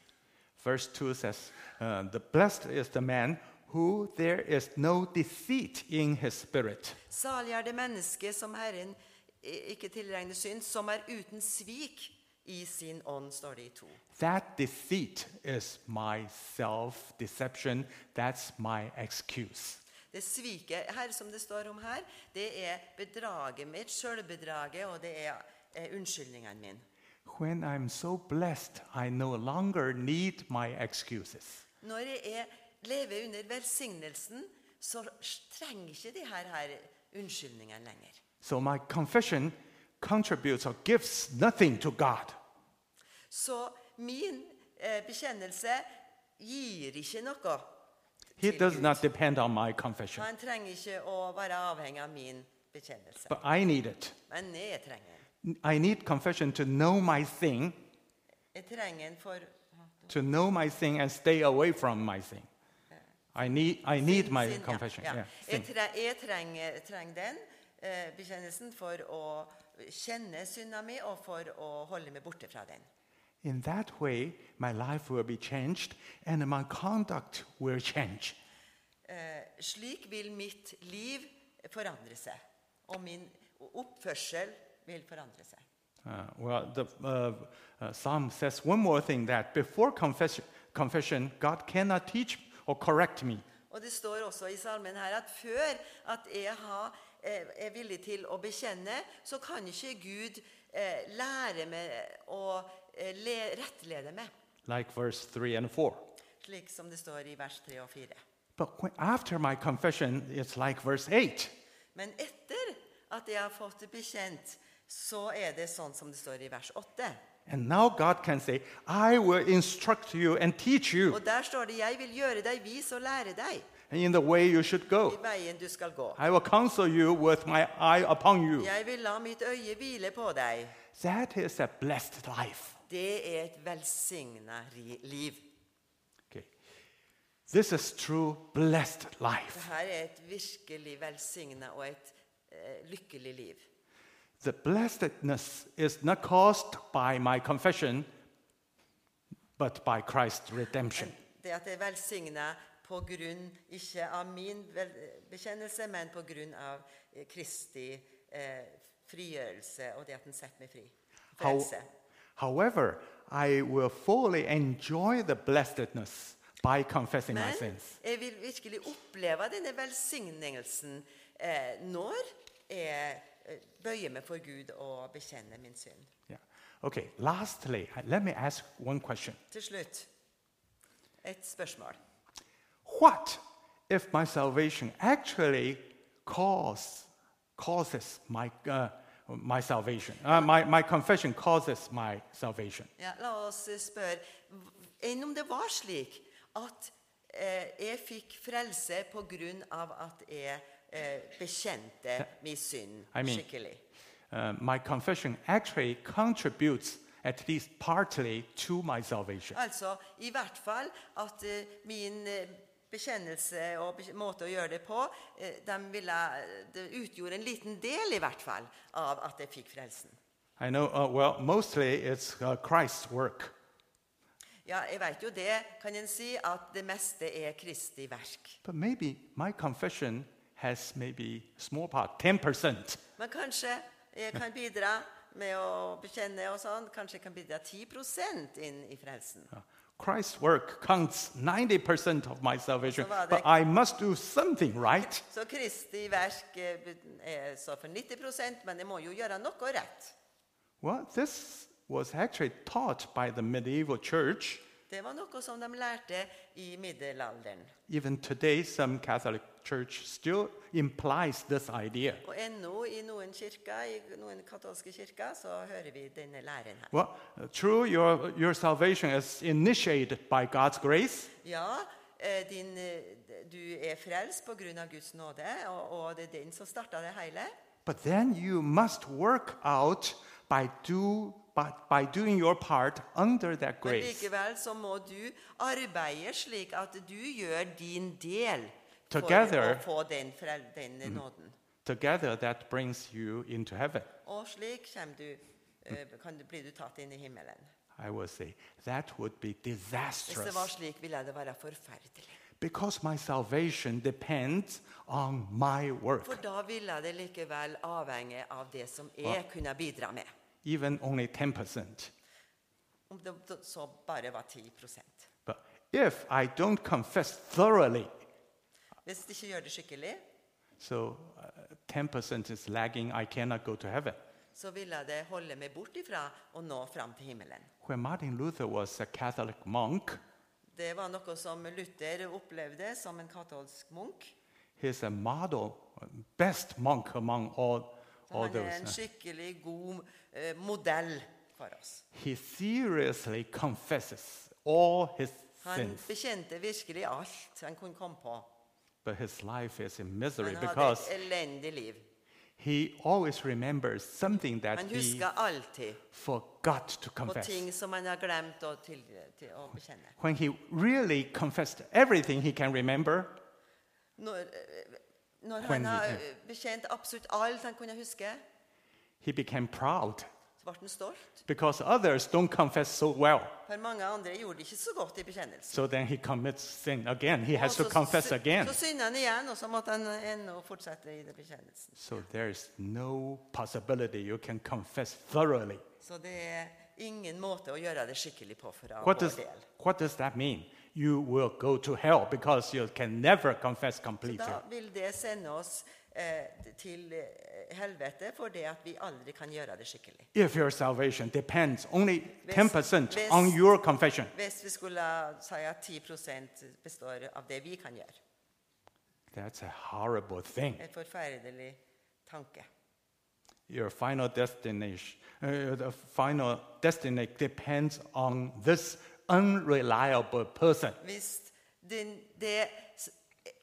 Speaker 2: Verse 2 says, uh, The blessed is the man who there is no deceit in his spirit.
Speaker 1: Salig er det mennesket som Herren i- ikke tilregner synd, som er uten svik i sin ånd, står det i to.
Speaker 2: That deceit is my self deception. That's my excuse.
Speaker 1: Det sviket her som det står om her, det er bedraget mitt, sjølbedraget, og det er eh, unnskyldningene mine.
Speaker 2: When I'm so blessed, I no longer need my excuses.
Speaker 1: Når jeg er, lever under velsignelsen, så trenger ikke de her, her unnskyldningene lenger.
Speaker 2: So my confession contributes or gives nothing to God.
Speaker 1: Så min eh, bekjennelse gir ikke noe.
Speaker 2: He
Speaker 1: Till
Speaker 2: does
Speaker 1: Gud.
Speaker 2: not depend on my confession,
Speaker 1: Han trenger ikke å være avhengig av min bekjennelse.
Speaker 2: but I need it.
Speaker 1: Men jeg trenger den.
Speaker 2: I need confession to know my sin,
Speaker 1: Jeg trenger den for
Speaker 2: to know my sin and stay away from my sin. I need, I need my
Speaker 1: Sin, ja,
Speaker 2: confession.
Speaker 1: ja.
Speaker 2: Yeah,
Speaker 1: Jeg,
Speaker 2: sin.
Speaker 1: tre, jeg trenger, trenger den eh, bekjennelsen for å kjenne synda mi og for å holde meg borte fra den.
Speaker 2: In that way, my life will be changed and my conduct will change.
Speaker 1: Eh, slik vil mitt liv forandre seg, og min oppførsel vil forandre seg.
Speaker 2: Uh, well, the uh, uh, Psalm says one more thing that before confession, confession, God cannot teach or correct me.
Speaker 1: Og det står også i salmen her at før at jeg har, eh, er villig til å bekjenne, så kan ikke Gud eh, lære meg å eh, le, rettlede meg,
Speaker 2: like verse 3 and 4.
Speaker 1: slik som det står i vers 3 og 4.
Speaker 2: But when, after my confession, it's like verse 8.
Speaker 1: Men etter at jeg har fått det bekjent, så er det sånn som det står i vers 8.
Speaker 2: And now God can say, I will instruct you and teach you
Speaker 1: Og der står det 'Jeg vil gjøre deg vis og lære deg
Speaker 2: in the way you should
Speaker 1: i
Speaker 2: go.
Speaker 1: veien du skal gå'.
Speaker 2: I will counsel you with my eye upon you.
Speaker 1: 'Jeg vil la mitt øye hvile på deg'.
Speaker 2: That is a blessed life.
Speaker 1: Det er et velsigna liv.
Speaker 2: Okay. This is true blessed
Speaker 1: Det
Speaker 2: life.
Speaker 1: her er et virkelig velsigna og et eh, lykkelig liv.
Speaker 2: The blessedness is not caused by my confession, but by Christ's redemption.
Speaker 1: Det at det er velsigna på grunn ikke av min vel- bekjennelse, men på grunn av eh, Kristi eh, frigjørelse og det at han setter meg fri.
Speaker 2: How-
Speaker 1: Frelse.
Speaker 2: however, I will fully enjoy the blessedness by confessing my
Speaker 1: Men
Speaker 2: sins.
Speaker 1: jeg vil virkelig oppleve denne velsignelsen eh, når jeg eh, bøyer meg for Gud og bekjenner min synd.
Speaker 2: Yeah. Okay, lastly, let me ask one question.
Speaker 1: Til slutt et spørsmål.
Speaker 2: What if my salvation actually cause, causes my, uh, my salvation? Uh, my, my confession causes my salvation.
Speaker 1: Ja, la oss eh, spørre v- Enn om det var slik at eh, jeg fikk frelse på grunn av at jeg eh, bekjente min synd
Speaker 2: I mean-
Speaker 1: skikkelig?
Speaker 2: Uh, my confession actually contributes at least partly to my salvation.
Speaker 1: Altså i hvert fall at eh, min eh, bekjennelse og bek- måte å gjøre det på, eh, dem ville, det utgjorde en liten del i hvert fall av at jeg fikk frelsen.
Speaker 2: I know, uh, well, mostly it's uh, Christ's work.
Speaker 1: Ja, jeg veit jo det, kan en si, at det meste er Kristi verk.
Speaker 2: But maybe my confession has maybe small part, 10%.
Speaker 1: Men kanskje jeg kan bidra med å bekjenne og sånn. Kanskje jeg kan bidra 10 inn i frelsen.
Speaker 2: Uh, Christ's work counts 90% of my salvation,
Speaker 1: var det-
Speaker 2: but I must do something, right?
Speaker 1: Så Kristi verk eh, be- er så for 90 men jeg må jo gjøre noe rett.
Speaker 2: Well, this was actually taught by the medieval church.
Speaker 1: Det var noe som de lærte i middelalderen.
Speaker 2: Even today, some Catholic church still implies this idea.
Speaker 1: Og ennå i noen kirker, i noen katolske kirker, så hører vi denne læren her.
Speaker 2: Well, true, your, your salvation is initiated by God's grace,
Speaker 1: Ja, eh, din, eh, du er frelst pga. Guds nåde, og, og det er den som starta det hele.
Speaker 2: but then you must work out by, do, by, by doing your part under that
Speaker 1: Men
Speaker 2: grace.
Speaker 1: likevel så må du arbeide slik at du gjør din del for
Speaker 2: Together. Mm-hmm.
Speaker 1: å få den, frel den nåden.
Speaker 2: Together, that brings you into heaven.
Speaker 1: Og slik kommer du, eh,
Speaker 2: Mm.
Speaker 1: kan du, blir du tatt inn i himmelen.
Speaker 2: I will say that would be
Speaker 1: Hvis det var
Speaker 2: disastrous
Speaker 1: slik, ville det være forferdelig.
Speaker 2: because my salvation depends on my
Speaker 1: For
Speaker 2: work.
Speaker 1: da ville det likevel avhenge av det som
Speaker 2: Ah.
Speaker 1: jeg kunne bidra med.
Speaker 2: even only 10%.
Speaker 1: Om det så bare var 10 Hvis
Speaker 2: But if I don't confess thoroughly,
Speaker 1: du ikke gjør det skikkelig,
Speaker 2: so uh, 10% is lagging, I cannot go to heaven.
Speaker 1: så ville det holde meg bort ifra å nå fram til himmelen.
Speaker 2: When Martin Luther was a Catholic monk,
Speaker 1: Det var noe som Luther opplevde som en katolsk munk.
Speaker 2: he's a model, best monk among all, all
Speaker 1: Han
Speaker 2: those.
Speaker 1: er en
Speaker 2: uh,
Speaker 1: skikkelig god eh, modell for oss.
Speaker 2: He seriously confesses all his
Speaker 1: Han
Speaker 2: sins,
Speaker 1: bekjente virkelig alt han kunne komme på.
Speaker 2: but his life is in misery
Speaker 1: Han hadde et
Speaker 2: because
Speaker 1: elendig liv.
Speaker 2: he always remembers something that
Speaker 1: Han
Speaker 2: he
Speaker 1: husker alltid
Speaker 2: forgot to
Speaker 1: på
Speaker 2: confess.
Speaker 1: ting som han har glemt å, til, til å bekjenne.
Speaker 2: when he really confessed everything he can remember,
Speaker 1: Når, eh, når han
Speaker 2: When he-
Speaker 1: har eh, bekjent absolutt alt han kunne huske,
Speaker 2: he became proud
Speaker 1: så ble han stolt.
Speaker 2: because others don't confess so well.
Speaker 1: For mange andre gjorde det ikke så godt i bekjennelsen.
Speaker 2: So then he commits sin again. He
Speaker 1: Og
Speaker 2: has to
Speaker 1: så
Speaker 2: confess
Speaker 1: sy-
Speaker 2: again.
Speaker 1: Så synda han igjen, og så måtte han ennå fortsette i det bekjennelsen.
Speaker 2: So there is no possibility you can confess thoroughly.
Speaker 1: Så det er ingen måte å gjøre det skikkelig på for
Speaker 2: What
Speaker 1: vår
Speaker 2: does,
Speaker 1: del.
Speaker 2: what does that mean? You will go to hell because you can never confess
Speaker 1: Så
Speaker 2: completely.
Speaker 1: da vil det sende oss eh, til eh, helvete for det at vi aldri kan gjøre det skikkelig.
Speaker 2: If your salvation depends only
Speaker 1: Hvis-
Speaker 2: 10%
Speaker 1: hvis-
Speaker 2: on your confession,
Speaker 1: Hvis vi skulle si at 10 består av det vi kan gjøre.
Speaker 2: that's a horrible thing.
Speaker 1: En forferdelig tanke.
Speaker 2: Your final destination, uh, the final destiny depends on this unreliable person.
Speaker 1: Hvis den, det s-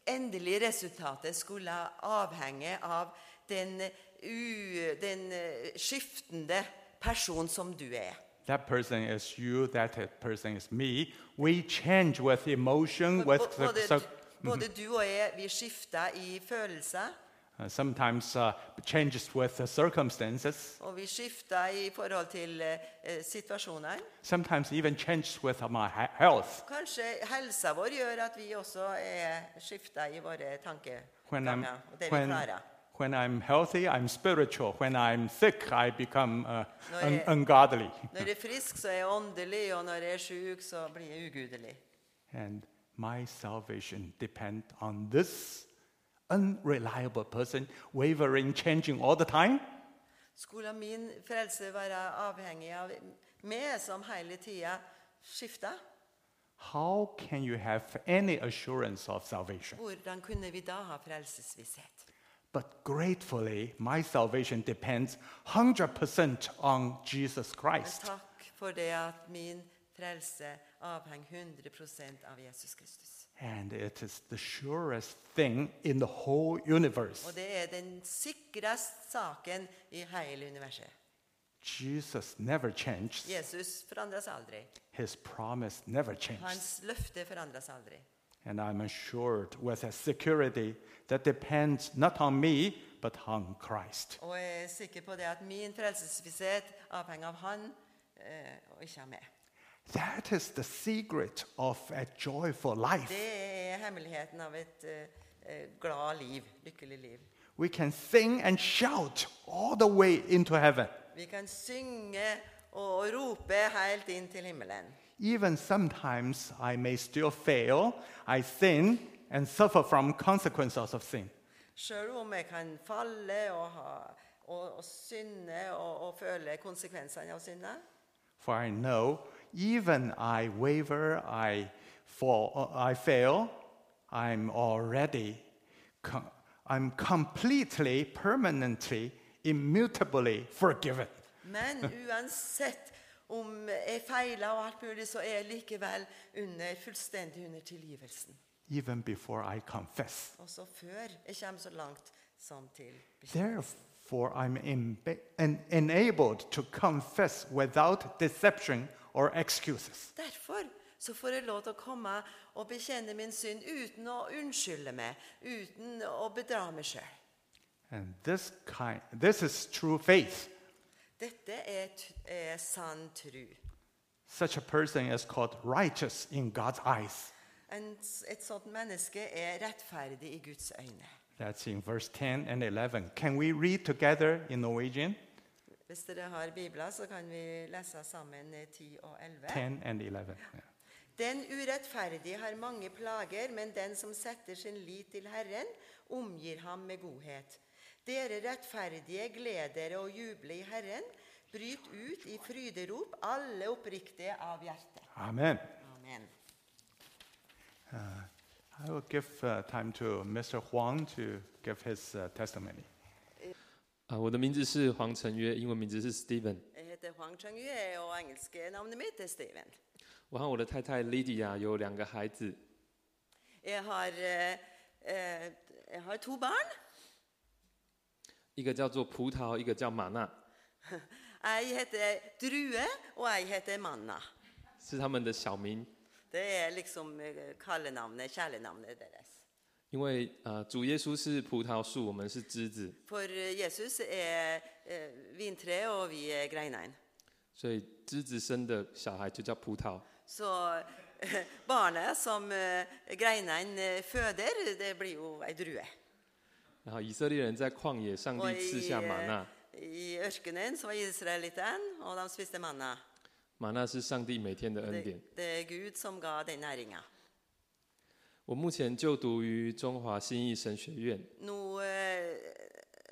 Speaker 1: endelige resultatet skulle avhenge av den, u, den eh, skiftende person som du er.
Speaker 2: That person is you, that person is me. We change with emotion, with
Speaker 1: Bo- Både,
Speaker 2: so-
Speaker 1: både du og jeg, vi skifter i følelser.
Speaker 2: uh, sometimes uh, changes with the circumstances,
Speaker 1: Og vi skifter i forhold til eh, eh, situasjonene.
Speaker 2: sometimes even changes with my he- health.
Speaker 1: Kanskje helsa vår gjør at vi også er skifter i våre
Speaker 2: When I'm,
Speaker 1: tankeganger. Og det vi
Speaker 2: when,
Speaker 1: klarer.
Speaker 2: when I'm healthy, I'm spiritual. When I'm sick, I become uh,
Speaker 1: No,
Speaker 2: un-
Speaker 1: yeah.
Speaker 2: ungodly.
Speaker 1: Når jeg er frisk, så er jeg åndelig, og når jeg er sjuk, så blir jeg ugudelig.
Speaker 2: And my salvation depend on this unreliable person wavering, changing all the time.
Speaker 1: Skulle min frelse være avhengig av meg som hele tida skifter?
Speaker 2: How can you have any assurance of salvation?
Speaker 1: Hvordan kunne vi da ha frelsesvisshet?
Speaker 2: But gratefully, my salvation depends 100% on Jesus
Speaker 1: Men
Speaker 2: Christ.
Speaker 1: takk for det at min frelse avhenger 100 av Jesus Kristus.
Speaker 2: And it is the surest thing in the whole universe.
Speaker 1: Og det er den sikreste saken i hele universet.
Speaker 2: Jesus never changes,
Speaker 1: Jesus forandres aldri.
Speaker 2: his promise never changes.
Speaker 1: Hans løfte forandres aldri.
Speaker 2: And I'm assured with a security that depends not on me, but on Christ.
Speaker 1: Og jeg er sikker på det at min frelsesvisshet avhenger av han eh, og ikke av meg.
Speaker 2: That is the secret of a joyful life.
Speaker 1: Det er hemmeligheten av et eh, eh, glad liv, lykkelig liv.
Speaker 2: We can sing and shout all the way into heaven.
Speaker 1: Vi kan synge og rope helt inn til himmelen.
Speaker 2: Even sometimes I may still fail, I sin, and suffer from consequences of sin.
Speaker 1: Sjøl om jeg kan falle og, ha, og, og synde og, og føle konsekvensene av synda,
Speaker 2: For I know, even I waver, I fall, uh, I fail, I'm already, com- I'm completely, permanently, immutably forgiven.
Speaker 1: men uansett om jeg feiler og alt mulig, så er jeg likevel under, fullstendig under tilgivelsen.
Speaker 2: Even before I confess.
Speaker 1: Også før jeg kommer så langt som til bekjennelse.
Speaker 2: Therefore, I'm emba- en- enabled to confess without deception or excuses.
Speaker 1: Derfor så får jeg lov til å komme og bekjenne min synd uten å unnskylde meg, uten å bedra meg sjøl.
Speaker 2: And this kind, this is true faith.
Speaker 1: Dette er, t er sann tru.
Speaker 2: Such a person is called righteous in God's eyes.
Speaker 1: En, s- et sånt menneske er rettferdig i Guds øyne.
Speaker 2: That's in verse 10 and 11. Can we read together in Norwegian?
Speaker 1: Hvis dere har Bibler, så kan vi lese sammen eh, 10 og 11.
Speaker 2: 10 and 11. yeah.
Speaker 1: Den urettferdige har mange plager, men den som setter sin lit til Herren, omgir ham med godhet. Dere rettferdige, gled dere og juble i Herren. Bryt ut i fryderop, alle oppriktige av hjerte.
Speaker 2: Amen.
Speaker 1: Amen.
Speaker 2: I will give uh, time to Mr. Huang to give his uh, testimony.
Speaker 3: 啊，我的名字是黄承约，英文名字是 Steven。
Speaker 1: Jeg heter Huang Chang-yue, og engelske navnet mitt er Steven.
Speaker 3: 我和我的太太 Lydia 有两个孩子，
Speaker 1: Jeg har, eh, eh, jeg har to barn.
Speaker 3: 一个叫做葡萄，一个叫玛娜，
Speaker 1: Jeg heter Drue, og jeg heter Manna.
Speaker 3: 是他们的小名。
Speaker 1: Det er liksom eh, kallenavnet, kjælenavnet deres.
Speaker 3: 因为呃，主耶稣是葡萄树，我们是枝子，
Speaker 1: For eh, Jesus er eh, vintreet, og vi er greinene.
Speaker 3: 所以枝子生的小孩就叫葡萄。
Speaker 1: Så eh, barnet som eh, greinene eh, føder, det blir jo ei drue.
Speaker 3: 然后以色列人在旷野，上
Speaker 1: Og
Speaker 3: 帝赐
Speaker 1: i,
Speaker 3: 下玛
Speaker 1: eh,
Speaker 3: 娜，
Speaker 1: i ørkenen så var israelittene, og de spiste manna.
Speaker 3: 玛娜是上帝每天的恩
Speaker 1: Det,
Speaker 3: 典。
Speaker 1: det er Gud som ga den næringa.
Speaker 3: 我目前就读于中华新义神学院，
Speaker 1: Nå, eh,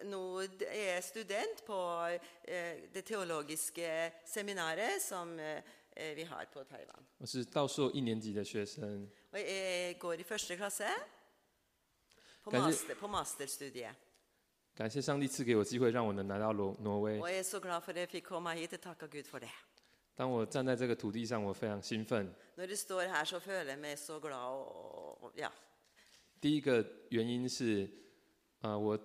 Speaker 1: nå er jeg student på eh, det teologiske seminaret som eh, vi har på Taiwan.
Speaker 3: 我是道硕一年级的学生。
Speaker 1: Og jeg går i første klasse på,
Speaker 3: Kanskje-
Speaker 1: master, på masterstudiet.
Speaker 3: 感谢上帝赐给我机会，让我能来到挪挪威
Speaker 1: Og。jeg er så glad for at jeg fikk komme hit. Jeg takker Gud for det.
Speaker 3: 当我站在这个土地上，我非常兴奋。
Speaker 1: Når jeg står her, så føler jeg meg så glad. Og, og, ja.
Speaker 3: 第一个原因是，啊、我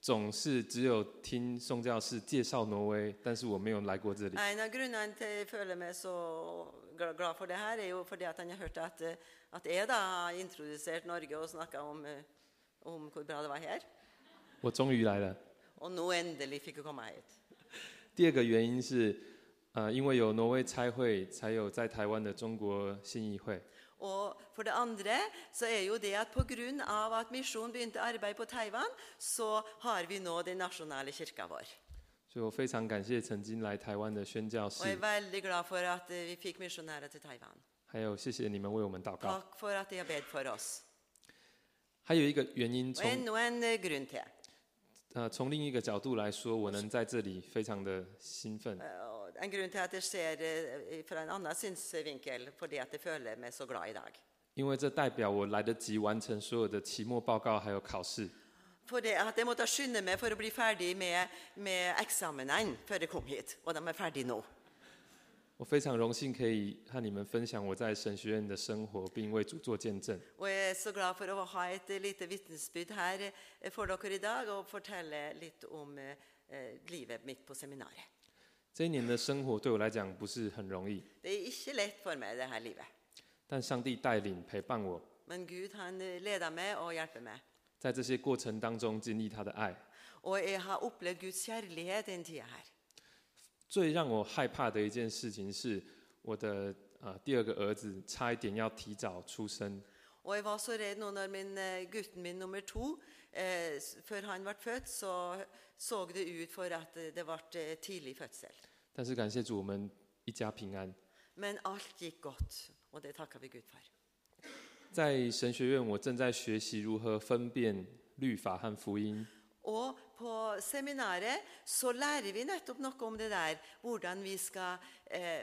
Speaker 3: 总是只有听宋教士介绍挪威，但是我没有来过这里。
Speaker 1: En av grunnene til jeg føler meg så gla- glad for det her, er jo fordi at han har hørt at, eh, at jeg da har introdusert Norge og snakka om, eh, om hvor bra det var her.
Speaker 3: 我终于来了。
Speaker 1: Og nå endelig fikk jeg komme hit.
Speaker 3: 第二个原因是，呃，因为有挪威差会，才有在台湾的中国信义会。
Speaker 1: Og for det andre så er jo det at pga. at misjonen begynte arbeid på Taiwan, så har vi nå den nasjonale kirka vår.
Speaker 3: 所以我非常感谢曾经来台湾的宣教士
Speaker 1: Og jeg er，veldig glad for at eh, vi fikk misjonærer til Taiwan.
Speaker 3: 还有谢谢你们为我们祷告。
Speaker 1: Takk for at de har bedt for oss.
Speaker 3: 还有一个原因
Speaker 1: Og
Speaker 3: 从，
Speaker 1: enda en eh, grunn til.
Speaker 3: 呃从另一个角度来说，我能在这里非常的兴奋。
Speaker 1: Eh, og En grunn til at jeg ser eh, fra en annen synsvinkel, fordi at jeg føler meg så glad i dag.
Speaker 3: 因为这代表我来得及完成所有的期末报告还有考试，
Speaker 1: Fordi at jeg måtte skynde meg for å bli ferdig med, med eksamenene før jeg kom hit. Og de er ferdige nå.
Speaker 3: 我非常荣幸可以和你们分享我在神学院的生活，并为主做见证。
Speaker 1: Og jeg er så glad for å ha et eh, lite vitnesbyrd her eh, for dere i dag, og fortelle litt om eh, eh, livet mitt på seminaret.
Speaker 3: 这一年的生活对我来讲不是很容易，
Speaker 1: Det er ikke lett for meg, det her livet.
Speaker 3: 但上帝带领陪伴我，
Speaker 1: Men Gud han eh, leder meg og hjelper meg.
Speaker 3: 在这些过程当中经历他的爱。
Speaker 1: Og jeg har opplevd Guds kjærlighet den tida her.
Speaker 3: 最让我害怕的一件事情是，我的啊、呃第二个儿子差一点要提早出生，
Speaker 1: Og jeg var så redd nå når min, eh, gutten min nummer to eh, s- Før han ble født, så så det ut for at eh, det ble eh, tidlig fødsel.
Speaker 3: 但是感谢主，我们一家平安。
Speaker 1: Men alt gikk godt, og det takker vi Gud for.
Speaker 3: 在神学院，我正在学习如何分辨律法和福音。
Speaker 1: Og på seminaret så lærer vi nettopp noe om det der, hvordan vi skal eh,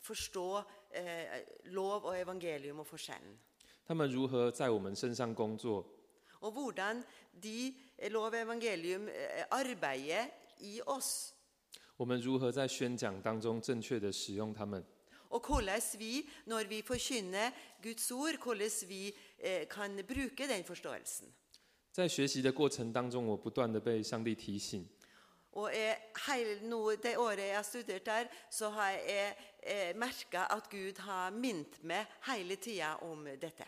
Speaker 1: forstå eh, lov og evangelium og forskjellen.
Speaker 3: 他们如何在我们身上工作？
Speaker 1: Og hvordan de eh, lov og evangelium eh, arbeider i oss.
Speaker 3: 我们如何在宣讲当中正确的使用它们？
Speaker 1: Og hvordan vi, når vi forkynner Guds ord, hvordan vi eh, kan bruke den forståelsen.
Speaker 3: 在学习的过程当中，我不断的被上帝提醒，
Speaker 1: Og jeg, hele nå, det året jeg har studert der, så har jeg eh, merka at Gud har minnet meg hele tida om dette.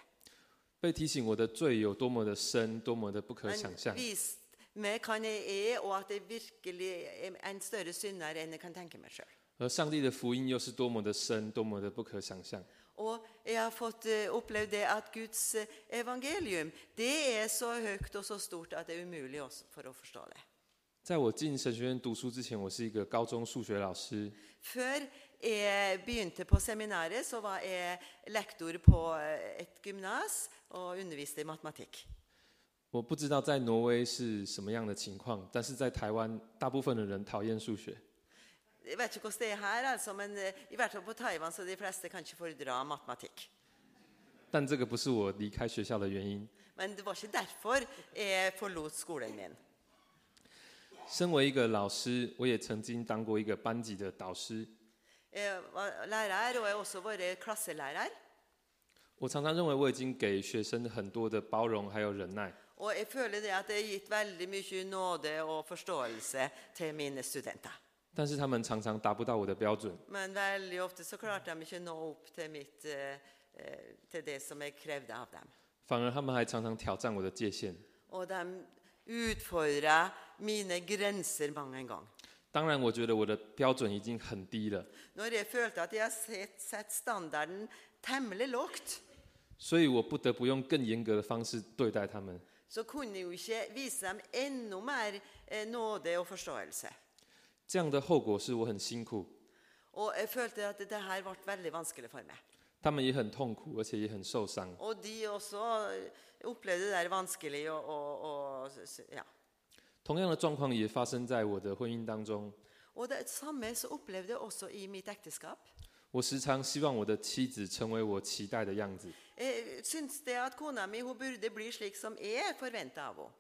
Speaker 3: 被提醒我的罪有多么的深，多么的不可想象
Speaker 1: Han。viste meg hva jeg er, og at jeg virkelig er en større synder enn jeg kan tenke meg sjøl.
Speaker 3: 而上帝的福音又是多么的深，多么的不可想象。
Speaker 1: Og jeg har fått eh, opplevd det at Guds eh, evangelium det er så høyt og så stort at det er umulig også for å forstå det.
Speaker 3: 在我进神学院读书之前，我是一个高中数学老师，
Speaker 1: Før jeg begynte på seminaret, så var jeg lektor på eh, et gymnas og underviste i matematikk.
Speaker 3: 我不知道在挪威是什么样的情况，但是在台湾，大部分的人讨厌数学。
Speaker 1: Jeg vet ikke hvordan det er her, altså, men eh, i hvert fall på Taiwan så de fleste kan ikke fordra matematikk.
Speaker 3: 但这个不是我离开学校的原因。
Speaker 1: Men det var ikke derfor jeg forlot skolen min.
Speaker 3: 身为一个老师，我也曾经当过一个班级的导师。
Speaker 1: Jeg var lærer, og jeg har også vært klasselærer.
Speaker 3: 我常常认为我已经给学生很多的包容还有忍耐，
Speaker 1: Og jeg føler det at jeg har gitt veldig mye nåde og forståelse til mine studenter.
Speaker 3: 但是他们常常达不到我的标准。
Speaker 1: Men veldig ofte så klarte de ikke å nå opp til, mitt, eh, eh, til det som jeg krevde av dem.
Speaker 3: 反而他们还常常挑战我的界限。
Speaker 1: Og de utfordra mine grenser mange en gang.
Speaker 3: 当然，我觉得我的标准已经很低了，
Speaker 1: Når jeg følte at jeg har sett, sett standarden temmelig lågt,
Speaker 3: 所以我不得不用更严格的方式对待他们。
Speaker 1: så kunne jeg jo ikke vise dem enda mer eh, nåde og forståelse.
Speaker 3: 这样的后果是我很辛苦，
Speaker 1: Og jeg følte at det her ble veldig vanskelig for meg.
Speaker 3: 他们也很痛苦，而且也很受伤。
Speaker 1: Og de også eh, opplevde det der vanskelig og, og, og s- ja.
Speaker 3: 同样的状况也发生在我的婚姻当中。
Speaker 1: Og det samme så opplevde jeg også i mitt ekteskap.
Speaker 3: 我时常希望我的妻子成为我期待的样子，
Speaker 1: Jeg syns det at kona mi hun burde bli slik som jeg forventa av henne.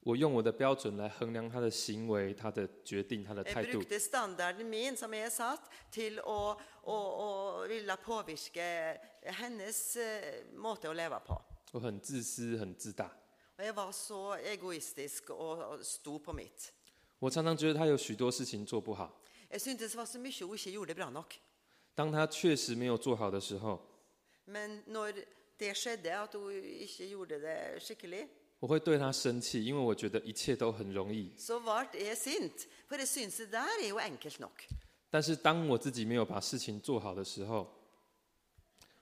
Speaker 3: 我用我的标准来衡量她的行为、她的决定、她的态
Speaker 1: Jeg
Speaker 3: 度。
Speaker 1: brukte standarden min, som jeg satt, til å, å, å ville påvirke hennes eh, måte å leve på.
Speaker 3: 我很自私、很自大。
Speaker 1: Og jeg var så egoistisk og, og sto på mitt.
Speaker 3: 我常常觉得她有许多事情做不好。
Speaker 1: Jeg syntes det var så mye hun ikke gjorde bra nok.
Speaker 3: 当她确实没有做好的时候，
Speaker 1: Men når det skjedde, at hun ikke gjorde det skikkelig,
Speaker 3: 我会对她生气，因为我觉得一切都很容易。
Speaker 1: så ble jeg sint. For jeg syns det der er jo enkelt nok.
Speaker 3: 但是当我自己没有把事情做好的时候，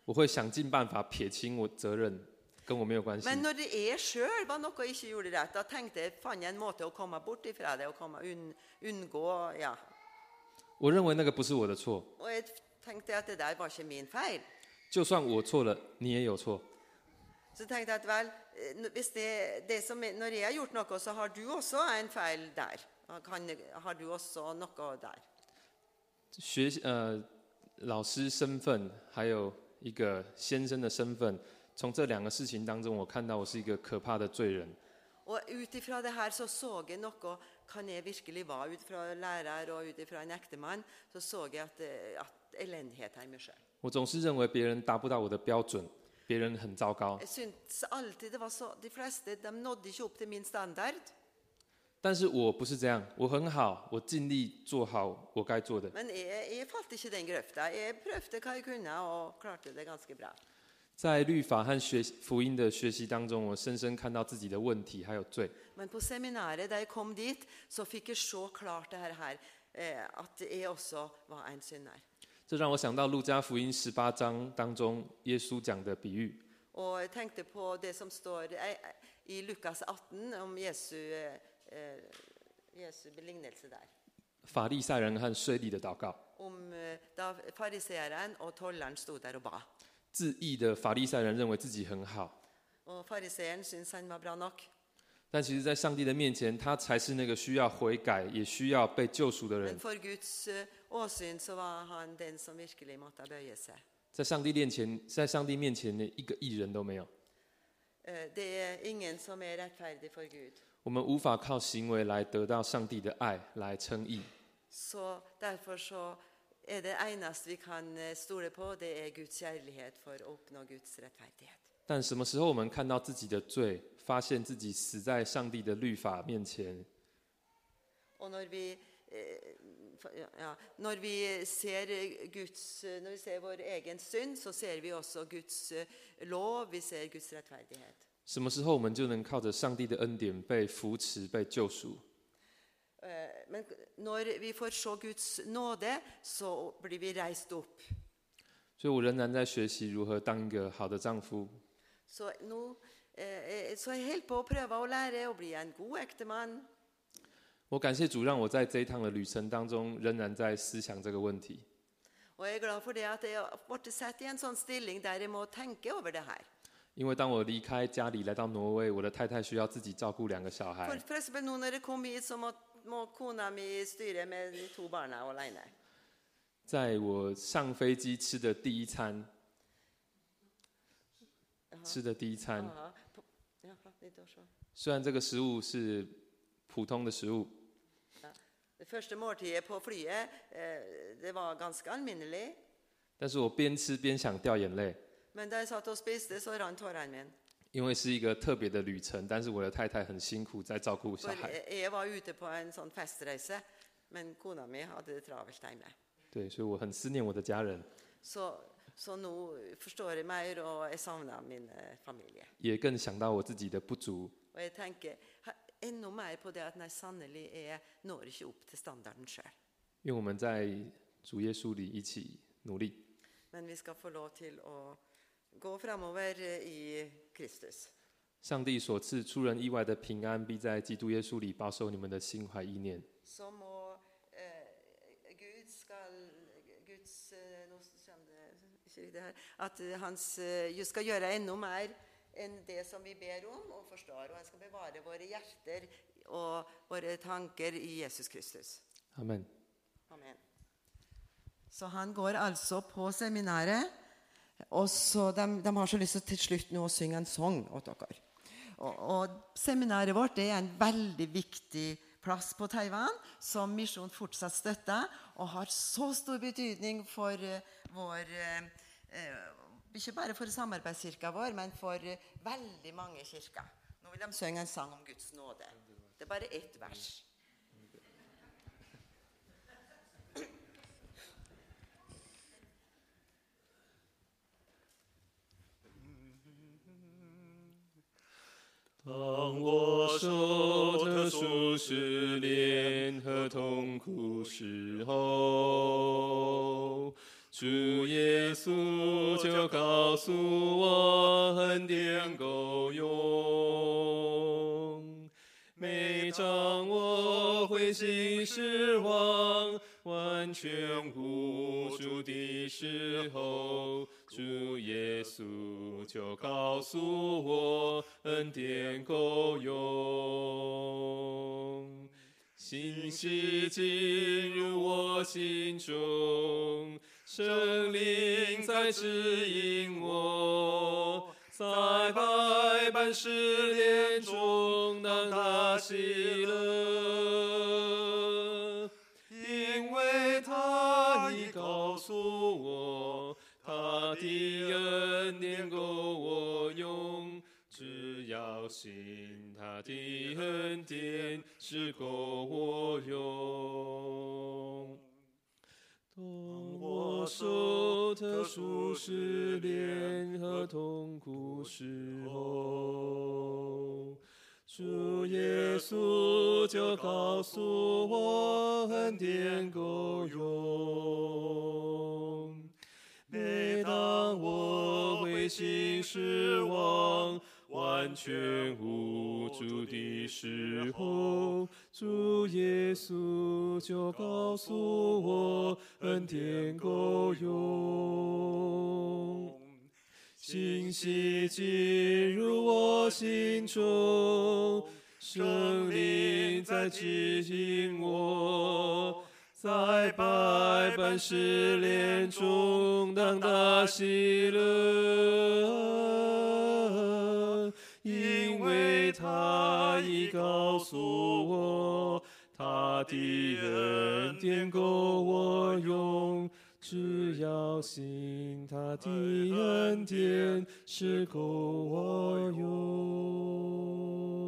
Speaker 3: 我会想尽办法撇清我责任，跟我没有关系。
Speaker 1: Men når det jeg sjøl var noe jeg ikke gjorde rett, da tenkte jeg fant jeg en måte å komme bort ifra det og komme unn, unngå ja.
Speaker 3: 我认为那个不是我的错，
Speaker 1: Og jeg tenkte at det der var ikke min feil.
Speaker 3: 就算我错了，你也有错。
Speaker 1: Så tenkte jeg at vel, eh, n- hvis det, det som, er- når jeg har gjort noe, så har du også en feil der. Kan, har du også noe der?
Speaker 3: 学呃，老师身份还有一个先生的身份，从这两个事情当中，我看到我是一个可怕的罪人。
Speaker 1: Og ut ifra det her så så jeg noe kan jeg virkelig være. Ut fra lærer og ut ifra en ektemann så så jeg at, eh, at elendighet her i meg sjøl.
Speaker 3: 我总是认为别人达不到我的标准，别人很糟糕。
Speaker 1: Jeg syntes alltid det var så De fleste de nådde ikke opp til min standard.
Speaker 3: 但是我不是这样，我很好，我尽力做好我该做的。
Speaker 1: Men jeg, jeg falt ikke i den grøfta. Jeg prøvde hva jeg kunne, og klarte det ganske bra.
Speaker 3: 在律法和学福音的学习当中，我深深看到自己的问题还有罪。
Speaker 1: Men på seminaret, da jeg kom dit, så fikk jeg så klart det her, her eh, at jeg også var en synder.
Speaker 3: 这让我想到路加福音十八章当中耶稣讲的比喻。
Speaker 1: Og jeg tenkte på det som står eh, i Lukas 18 om Jesu, eh, eh, Jesu belignelse der.
Speaker 3: 法利赛人和税吏的祷告。
Speaker 1: Om eh, da fariseeren og tolleren sto der og ba.
Speaker 3: 自义的法利赛人认为自己很好，
Speaker 1: Og fariseeren syntes han var bra nok.
Speaker 3: 但其实，在上帝的面前，他才是那个需要悔改、也需要被救赎的人
Speaker 1: Men。for Guds eh, åsyn så var han den som virkelig måtte bøye seg.
Speaker 3: 在上帝面前，在上帝面前连一个艺人都没有。
Speaker 1: Eh, Det er ingen som er rettferdig for Gud.
Speaker 3: 我们无法靠行为来得到上帝的爱来称义，
Speaker 1: Så derfor så er det eneste vi kan eh, stole på, det er Guds kjærlighet for å oppnå Guds rettferdighet.
Speaker 3: 但什么时候我们看到自己的罪，发现自己死在上帝的律法面前，
Speaker 1: Og når vi, eh, for- ja, når vi ser eh, Guds eh, Når vi ser vår egen synd, så ser vi også Guds eh, lov, vi ser Guds rettferdighet.
Speaker 3: 什么时候我们就能靠着上帝的恩典被扶持、被救赎？
Speaker 1: Eh, Men når vi får se Guds nåde, så blir vi reist opp.
Speaker 3: 所以我仍然在学习如何当一个好的丈夫。
Speaker 1: Så nå eh, eh, Så jeg holder på å prøve å lære å bli en god ektemann.
Speaker 3: 我感谢主，让我在这一趟的旅程当中，仍然在思想这个问题。
Speaker 1: Og jeg er glad for det at jeg har blitt satt i en sånn stilling der jeg må tenke over det her.
Speaker 3: 因为当我离开家里来到挪威，我的太太需要自己照顾两个小孩
Speaker 1: For, for eksempel nå når jeg kom hit, så må, må kona mi styre med de to barna alene.
Speaker 3: 在我上飞机吃的第一餐，吃的第一餐，
Speaker 1: Ja, på- ja, litt å se.
Speaker 3: 虽然这个食物是普通的食物，
Speaker 1: Det første måltidet på flyet, eh, det var ganske alminnelig.
Speaker 3: 但是我边吃边想掉眼泪，
Speaker 1: Men da jeg satt og spiste, så rant tårene mine.
Speaker 3: 因为是一个特别的旅程。但是我的太太很辛苦在照顾小
Speaker 1: For
Speaker 3: 孩，
Speaker 1: jeg jeg var ute på en sånn festreise, men kona mi hadde det travelt hjemme.
Speaker 3: 对，所以我很思念我的家人，
Speaker 1: Så, så nå forstår jeg mer, og jeg savner min eh, familie.
Speaker 3: 也更想到我自己的不足。
Speaker 1: Og jeg tenker he- enda mer på det at nei, sannelig jeg når ikke opp til standarden sjøl.
Speaker 3: 因为我们在主耶稣里一起努力。
Speaker 1: Men vi skal få lov til å gå framover eh, i Kristus.
Speaker 3: 上帝所赐出人意外的平安，必在基督耶稣里保守你们的心怀意念。
Speaker 1: Så må eh, Gud skal Guds eh, Nå kommer det ikke riktig her. At eh, hans eh, Gud skal gjøre enda mer enn det som vi ber om og forstår. Og han skal bevare våre hjerter og våre tanker i Jesus Kristus.
Speaker 3: 阿门。
Speaker 1: Amen. Så han går altså på seminaret, og så de, de har så lyst til til slutt nå å synge en sang åt dere. Og, og seminaret vårt det er en veldig viktig plass på Taiwan, som Misjon fortsatt støtter, og har så stor betydning for eh, vår eh, eh, Ikke bare for samarbeidskirka vår, men for eh, veldig mange kirker. Nå vil de synge en sang om Guds nåde. Det er bare ett vers.
Speaker 4: 每当我回
Speaker 3: 内心失望，完全无助的时候，主耶稣就告诉我，恩典够用。信息进入我心中，圣灵在指引我，在百般试炼中，当大喜乐，因为他已告诉我，他的恩典够我用。只要信他的恩典是够我用。